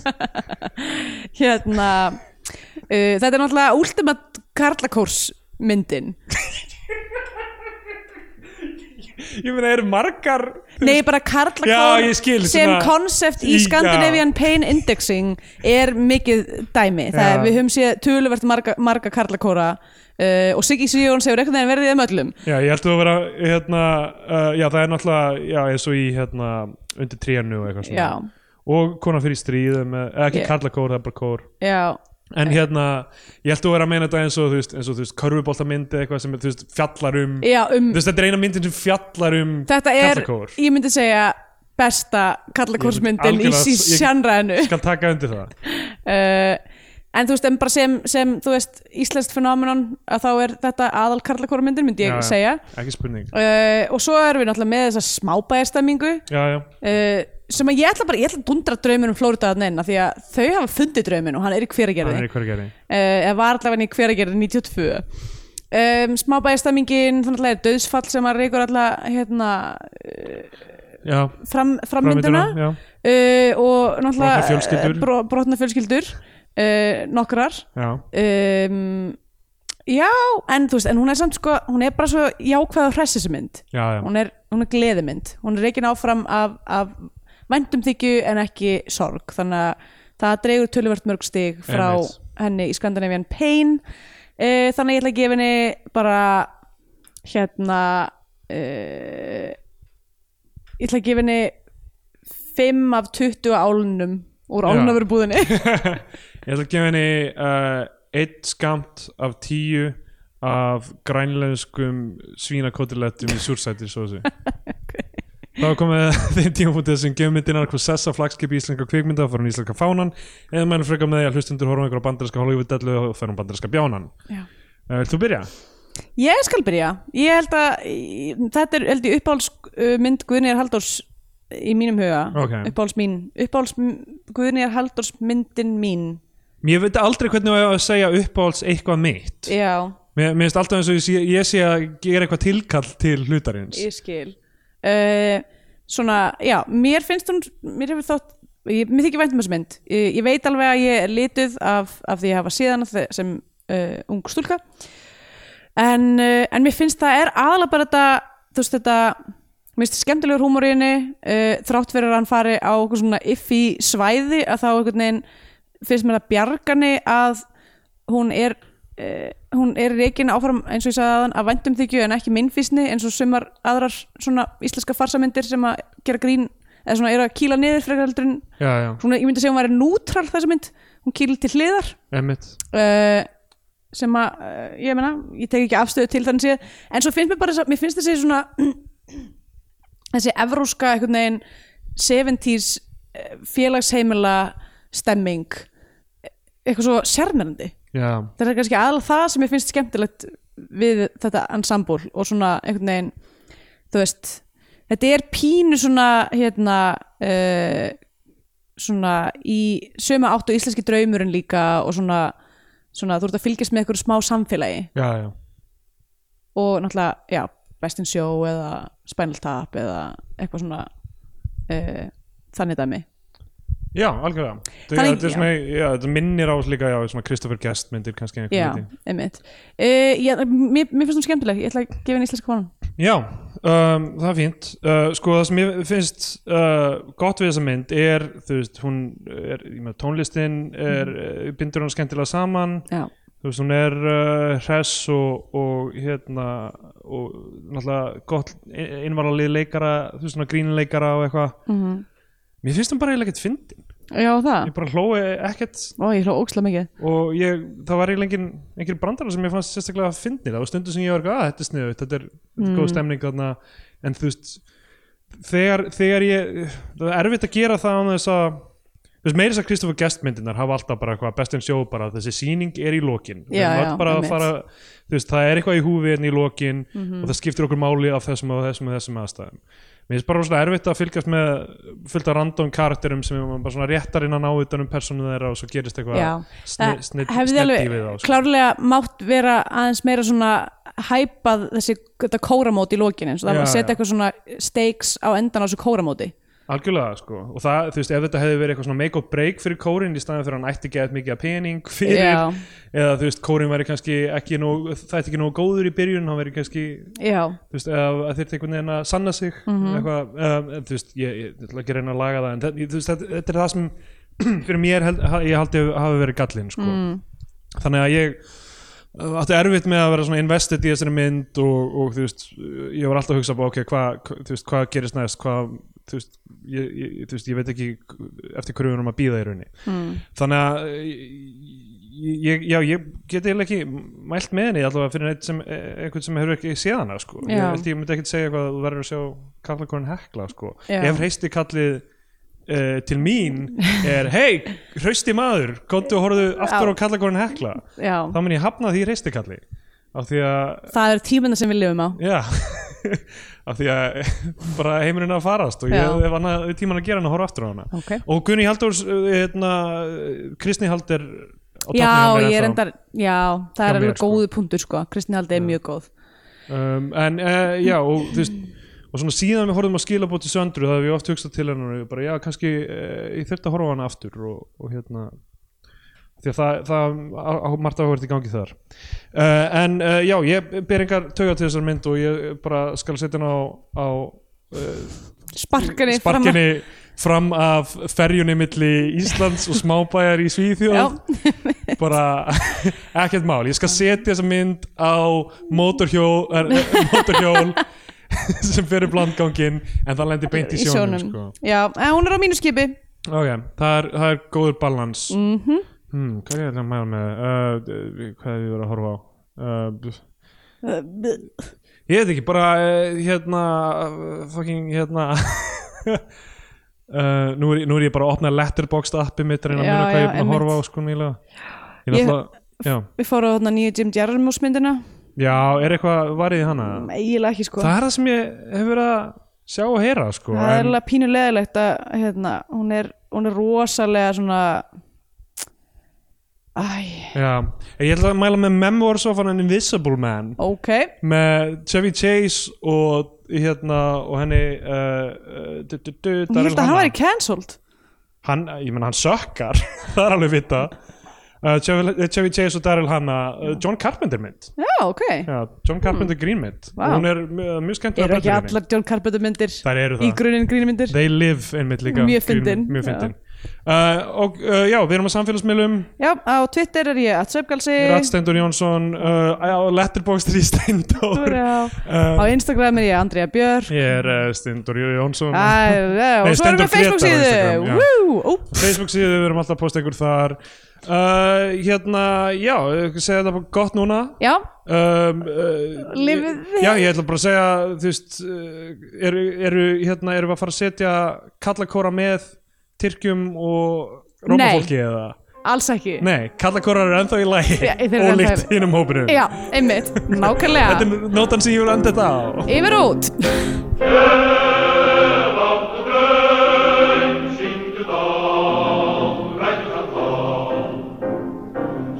<laughs> hérna uh, þetta er náttúrulega ultimate karlakórs myndin
Ég meina, eru margar
Nei, bara
Já, ég
karlakór
skil,
sem
svona-
konsept í
Í-
Scandinavian Pain Indexing er mikið dæmi það
Já.
er, við höfum séð töluvert marga, marga karlakóra uh, og Siggi Sigjóns hefur einhvern veginn verið í þeim öllum
Já, ég held að vera, hérna uh, já, það er náttúrulega, já, eins og í hérna, undir trénu og eitthvað svona
Já.
og kona fyrir stríð með, eða ekki
Ég-
karlakór, það er bara kór
Já,
En hérna, ég held að vera að meina þetta eins og, þú veist, eins og, þú veist, körfuboltamyndi eitthvað sem, þú veist, fjallar um
já um,
Þú veist, þetta er eina myndin sem fjallar um
þetta er,
karlakór.
ég myndi segja besta karlakórsmyndin í
algjörlega-
sí
ég-
sjanræðinu
Skal taka undir það
uh, en þú veist, en bara sem, sem þú veist, íslenskt fenómenon að þá er þetta aðal karlakórmyndin myndi
Já,
ég
já.
segja
Ekki spurning
uh, og svo erum við náttúrulega með þessa smábæðarstemmingu
Já, já,
uh, sem að ég ætla bara, ég ætla að dundra draumin um Flórida þarna inn af því að þau hafa fundið draumin og hann er í
það er
hveragerði uh,
í hverju gerði
eða var allavega í hveragerði 92 um, smábæðarstemingin, þannig að er döðsfall sem að reykur alla hérna,
Já,
fram,
framvinduna
frammynduna
Já,
uh, og náttúrulega
Brotnar fjölskyldur.
eh, bro, brotna fjölskyldur uh, nokkrar
já
um, já, en þú veist en hún er samt sko, hún er bara svo jákvæð og hressi sem mynd,
Já, já,
hún er, hún er gleðimynd hún er reikin áfram af, af vændumþykju en ekki sorg þannig að það dreigur töluvert mörg stig frá
Einmitt.
henni í Skandinavian Pain uh, þannig að ég ætla að gefa henni bara hérna uh, ég ætla að gefa henni 5 af 20 álunum úr
Já.
álunafurubúðinni
<laughs> Ég ætla að gefa henni uh, eitt skamt af tíu af grænlenskum svínakottilettum í súrsæti svo þessu Þá er komið að <laughs> þeim tímafútið sem gefur myndinar hvað sessa flagskipi íslenska kvikmynda fyrir íslenska fánan eða mælum frekar með því að hlustundur horfum einhverja bandarinska Hollywood-dellu og færum bandarinska bjánan
Já.
Uh, Vilt þú byrja?
Ég skal byrja. Ég held að í- þetta er held ég uppáhalds uh, mynd Guðnýjar Halldórs í mínum huga.
Ok.
Uppáhalds mín. Uppáhalds m- Guðnýjar Halldórs myndin mín.
Mér veit aldrei hvernig á ég á að segja uppáhalds eitthvað mitt
Já,
Mér, mér finnst alltaf eins og ég sé, ég sé að gera eitthvað tilkall til hlutarins
ég skil. Uh, svona, já, mér finnst hún, mér hefur þótt, ég, mér þykir vænt um þessu mynd. Ég, ég veit alveg að ég er lituð af, af því að hafa síðan sem uh, ung stúlka. en, uh, en mér finnst það er aðalega bara þetta þú veist þetta mér finnst skemmtilegur húmor í henni uh, þrátt fyrir að hann fari á eitthvað svona iffi svæði að þá einhvern veginn finnst mér það bjargani að hún er uh, hún er reikin áfram eins og ég sagði aðan að væntum þykju en ekki minnfísni eins og sumar aðrar svona íslenska farsamyndir sem að gera grín eða svona eru að kýla niður frekar heldur en
Já, já,
svona ég myndi segja hún væri nútral þessa mynd hún kýlir til hliðar
emmitt
uh, sem að, uh, ég meina, ég tek ekki afstöðu til þannig séð, en svo finnst mér bara, þessa- mér finnst þessi svona <clears throat> þessi evróska einhvern veginn 70s eh, félagsheimila stemming eh, eitthvað svo sérmennandi
Já,
það er kannski aðal það sem ég finnst skemmtilegt við þetta ensemble og svona einhvern veginn þú veist, þetta er pínu svona hérna uh, svona í sömu áttu íslenski draumurinn líka og svona, svona þú ert að fylgjast með einhverju smá samfélagi
já, já
og náttúrulega, já, Bestin Show eða Spinal Tap eða eitthvað svona uh, þannig dæmi
Já, algjörlega Þau-
Þannig-
Þetta er svona, já, þetta minnir á líka já, svona Christopher Guest myndir kannski einhvern
já,
veginn.
einmitt uh, já, mér, mér finnst hún skemmtileg, ég ætla að gefa henni íslenska konan
Já, um, það er fínt uh, Sko, það sem ég finnst uh, gott við þessa mynd er þú veist, hún er, ég með tónlistin er, mm. bindur hún skemmtilega saman
já,
þú veist, hún er uh, hress og, og hérna og náttúrulega gott innvaralið leikara, þú veist, svona grínleikara og eitthvað
mhm
Mér finnst hún bara eiginlega ekkert fyndin
já það,
ég bara hlói ekkert
ó ég hló óksla mikið
og ég, það var eiginlega engin, einhver brandara sem ég fannst sérstaklega að fyndi það var stundu sem ég var ekki að þetta er sniðu þetta er mm. góð stemning þarna en þú veist þegar, þegar ég, það er erfitt að gera það án þess að þú veist meiri þess að Kristoffer Guest myndinar hafa alltaf bara eitthvað best in show bara þessi sýning er í lokin Við
Já,
erum öll
já,
bara að
einmitt. Mhm.
fara, þú veist, það er eitthvað í húfi en í lokin og það skiptir okkur máli af þessum og þessum og þessum aðstæðum mér finnst bara svona erfitt að fylgjast með fullt af random karakterum sem er bara svona réttar innan ávitanum um persónu þeirra og svo gerist
Já.
eitthvað
Það
sni- sni-
hefði
sneddi
alveg
við þá sko.
klárlega mátt vera aðeins meira svona hæpað þessi þetta kóramót í lokinu eins og það
Já,
var að setja
já.
eitthvað svona stakes á endan á þessu kóramóti
algjörlega sko og það, þú veist, ef þetta hefði verið eitthvað svona make or break fyrir kórin í staðan fyrir að hann ætti geðað mikið að pening fyrir,
Já.
eða þú veist, kórin væri kannski ekki nóg, það er ekki nóg góður í byrjun hann væri kannski
já,
þú veist, eða að þyrfti einhvern veginn að sanna sig
Mhm.
eitthvað, eða, þú veist, ég, ég, ég ætla ekki að reyna að laga það en það, þú veist, þetta, þetta er það sem <clears throat> fyrir mér held, ha- ég haldi að hafi verið gallinn sko.
Mm.
þannig að ég uh, átti erfitt með að vera svona invested í þessari mynd og, og þú veist uh, ég var alltaf að hugsa bara, ok, hvað hva, þú veist, hvað gerist næst, hvað þú veist, ég, ég, þú veist, ég veit ekki eftir hverju við erum að býða í rauninni
Hmm.
mm. þannig að eh, ég, já, ég get eiginlega ekki mælt með henni allavega fyrir neitt sem, eh, einhvern sem hefur ekki séð hana sko. ég,
Já.
held ég myndi ekkit segja eitthvað að þú verður að sjá kallakorn hekla sko.
Já.
ef hreisti kallið Uh, til mín er hei, hrausti maður, komdu og horfðu aftur á kallakorn hekla
já
þá mun ég hafna því hreisti kalli af því að,
það er tímina sem við lifum á
já <laughs> af því að bara heimurinn er að farast og
Já.
ég hef annað tíman að gera hann að horfa aftur á hana
Ok.
og Gunni Halldórs, uh, hérna Kristni Haldur á toppnum hjá
já,
mér
ég er
ennþá.
endar, já, það
Hjá
er
mér,
alveg
sko.
góðu punktur sko Kristín Haldi er mjög góð
um, en uh, já og þú veist og svona síðan við horfum að skilabóti söndru það hef ég oft hugsað til hennar og ég bara já kannski uh, ég þurfti að horfa á hana aftur og, og hérna því að það, það á- á- margt áhverð í gangi þar uh, en uh, já, ég ber engar tauga til þessar mynd og ég bara skal setja hana á, á
sparkinni,
sparkinni fram af ferjunni milli Íslands og smábæjar í Svíþjóð
Já.
bara <laughs> ekkert mál, ég skal setja þessa mynd á mótorhjól, er, mótorhjól <laughs> sem fyrir blandgangin en það lendir beint í
<laughs> í
sjónum,
sjónum
Sko.
já, en hún er á mínu skipi
ok, það er, það er góður balans mm
Mhm.
hmm, hvað er ég ætla að mæla með uh, hvað er ég verið að horfa á uh, bl- ég veit ekki, bara uh, hérna uh, fucking hérna <laughs> Uh, nú, er, nú er ég bara að opna letterboxd appi mitt reyna að
Já,
muna hvað ég er
já,
búin að
einmitt.
horfa á sko nýlega ég,
Ég-
náttúrulega, já,
við fórum á þarna nýju Jim Jarmusch myndina
já, er eitthvað varðið hana?
eiginlega ekki sko
það er það sem ég hef verið að sjá og heyra sko,
það er
en,
alveg pínulegilegt að hérna, hún, er, hún er rosalega svona æ,
já, En ég ætla að mæla með Memoirs of an Invisible Man
ok
með Chevy Chase og hérna og henni uh, uh, du- du- du-
hún
Daryl
held að hann
Hannah.
væri cancelled
hann, ég menn hann sökkar <laughs> það er alveg vita uh, Chevy, Chevy Chase og Daryl Hanna uh, John Carpenter mynd
já, ok,
já, John Carpenter green mynd
Vá.
hún er uh, mjög skemmtilega
eru
brellur
ekki
í henni.
allar John Carpenter myndir
Þær eru
í
það.
grunin grínmyndir
They live einmitt líka
Mjög
Green
fyndin,
Mynd, mjög fyndin. Uh, og uh, já, við erum á samfélagsmiðlum
já, á Twitter er ég að söfgalsi
Rattsteindur Jónsson uh, Letterboxd í Steindór Uh,
á Instagram er ég Andrea Björk
Ég er uh, Steindur Jónsson
Æ, já, og svo erum
Steindór
við Facebook
Grétar á Instagram, já.
síðu Woo, úp.
Facebook síðu, við erum alltaf að posta ykkur þar uh, Hérna, já ég segja þetta bara gott núna
Já,
um, uh,
Lifið
ég- Já, ég ætla bara að segja þú veist, uh, eru, eru, hérna, eru við að fara að setja kallakóra með Tyrkjum og Rómafólki eða?
alls ekki
Nei, kallakórar eru ennþá í lægi
Já, þeir eru
ólíkt
ennþá í-
hinum hópinu
Já, einmitt,
um Þetta
nákvæmlega
er nótan sem ég vil enda þetta á
Yfir út
Syngdu þá, rættu það þá.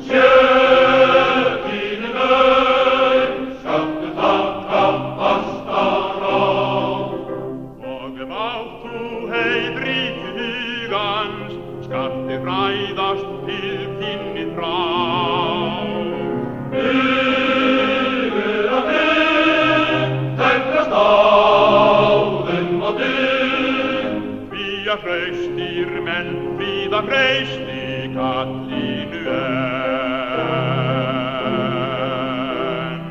Sjöfninu laun, skaptu þakka fastar á. Og mátt þú heilríki hugans, skapti fræðast til kynni frá. Yfir að þig, tæknast áðum að þig, Fría hraustir menn, fríða hraustir kallinu enn.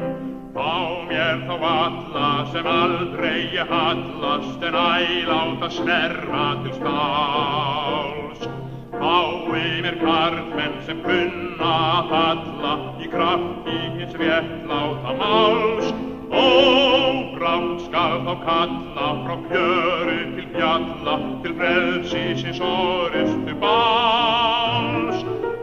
Fá mér þá alla sem aldrei ég hallast en æláta snerra til stáls. Fái mér karlmenn sem kunna að falla í krafti hins réttláta máls. Ó, brátt skal þá kalla frá kjöru til fjalla til frelsisins orðustu báls.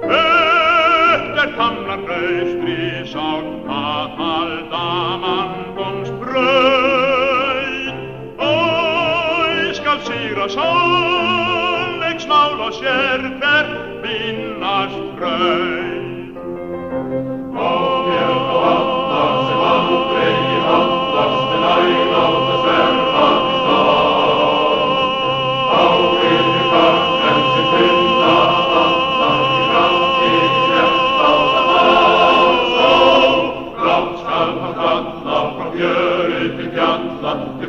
Öll er tamnar raustri sátt að halda manngóms brauð. Æ, skal sýra sannleik smál og sér hver minnast brauð. Brátt skal það kalla frá fjöru til fjalla til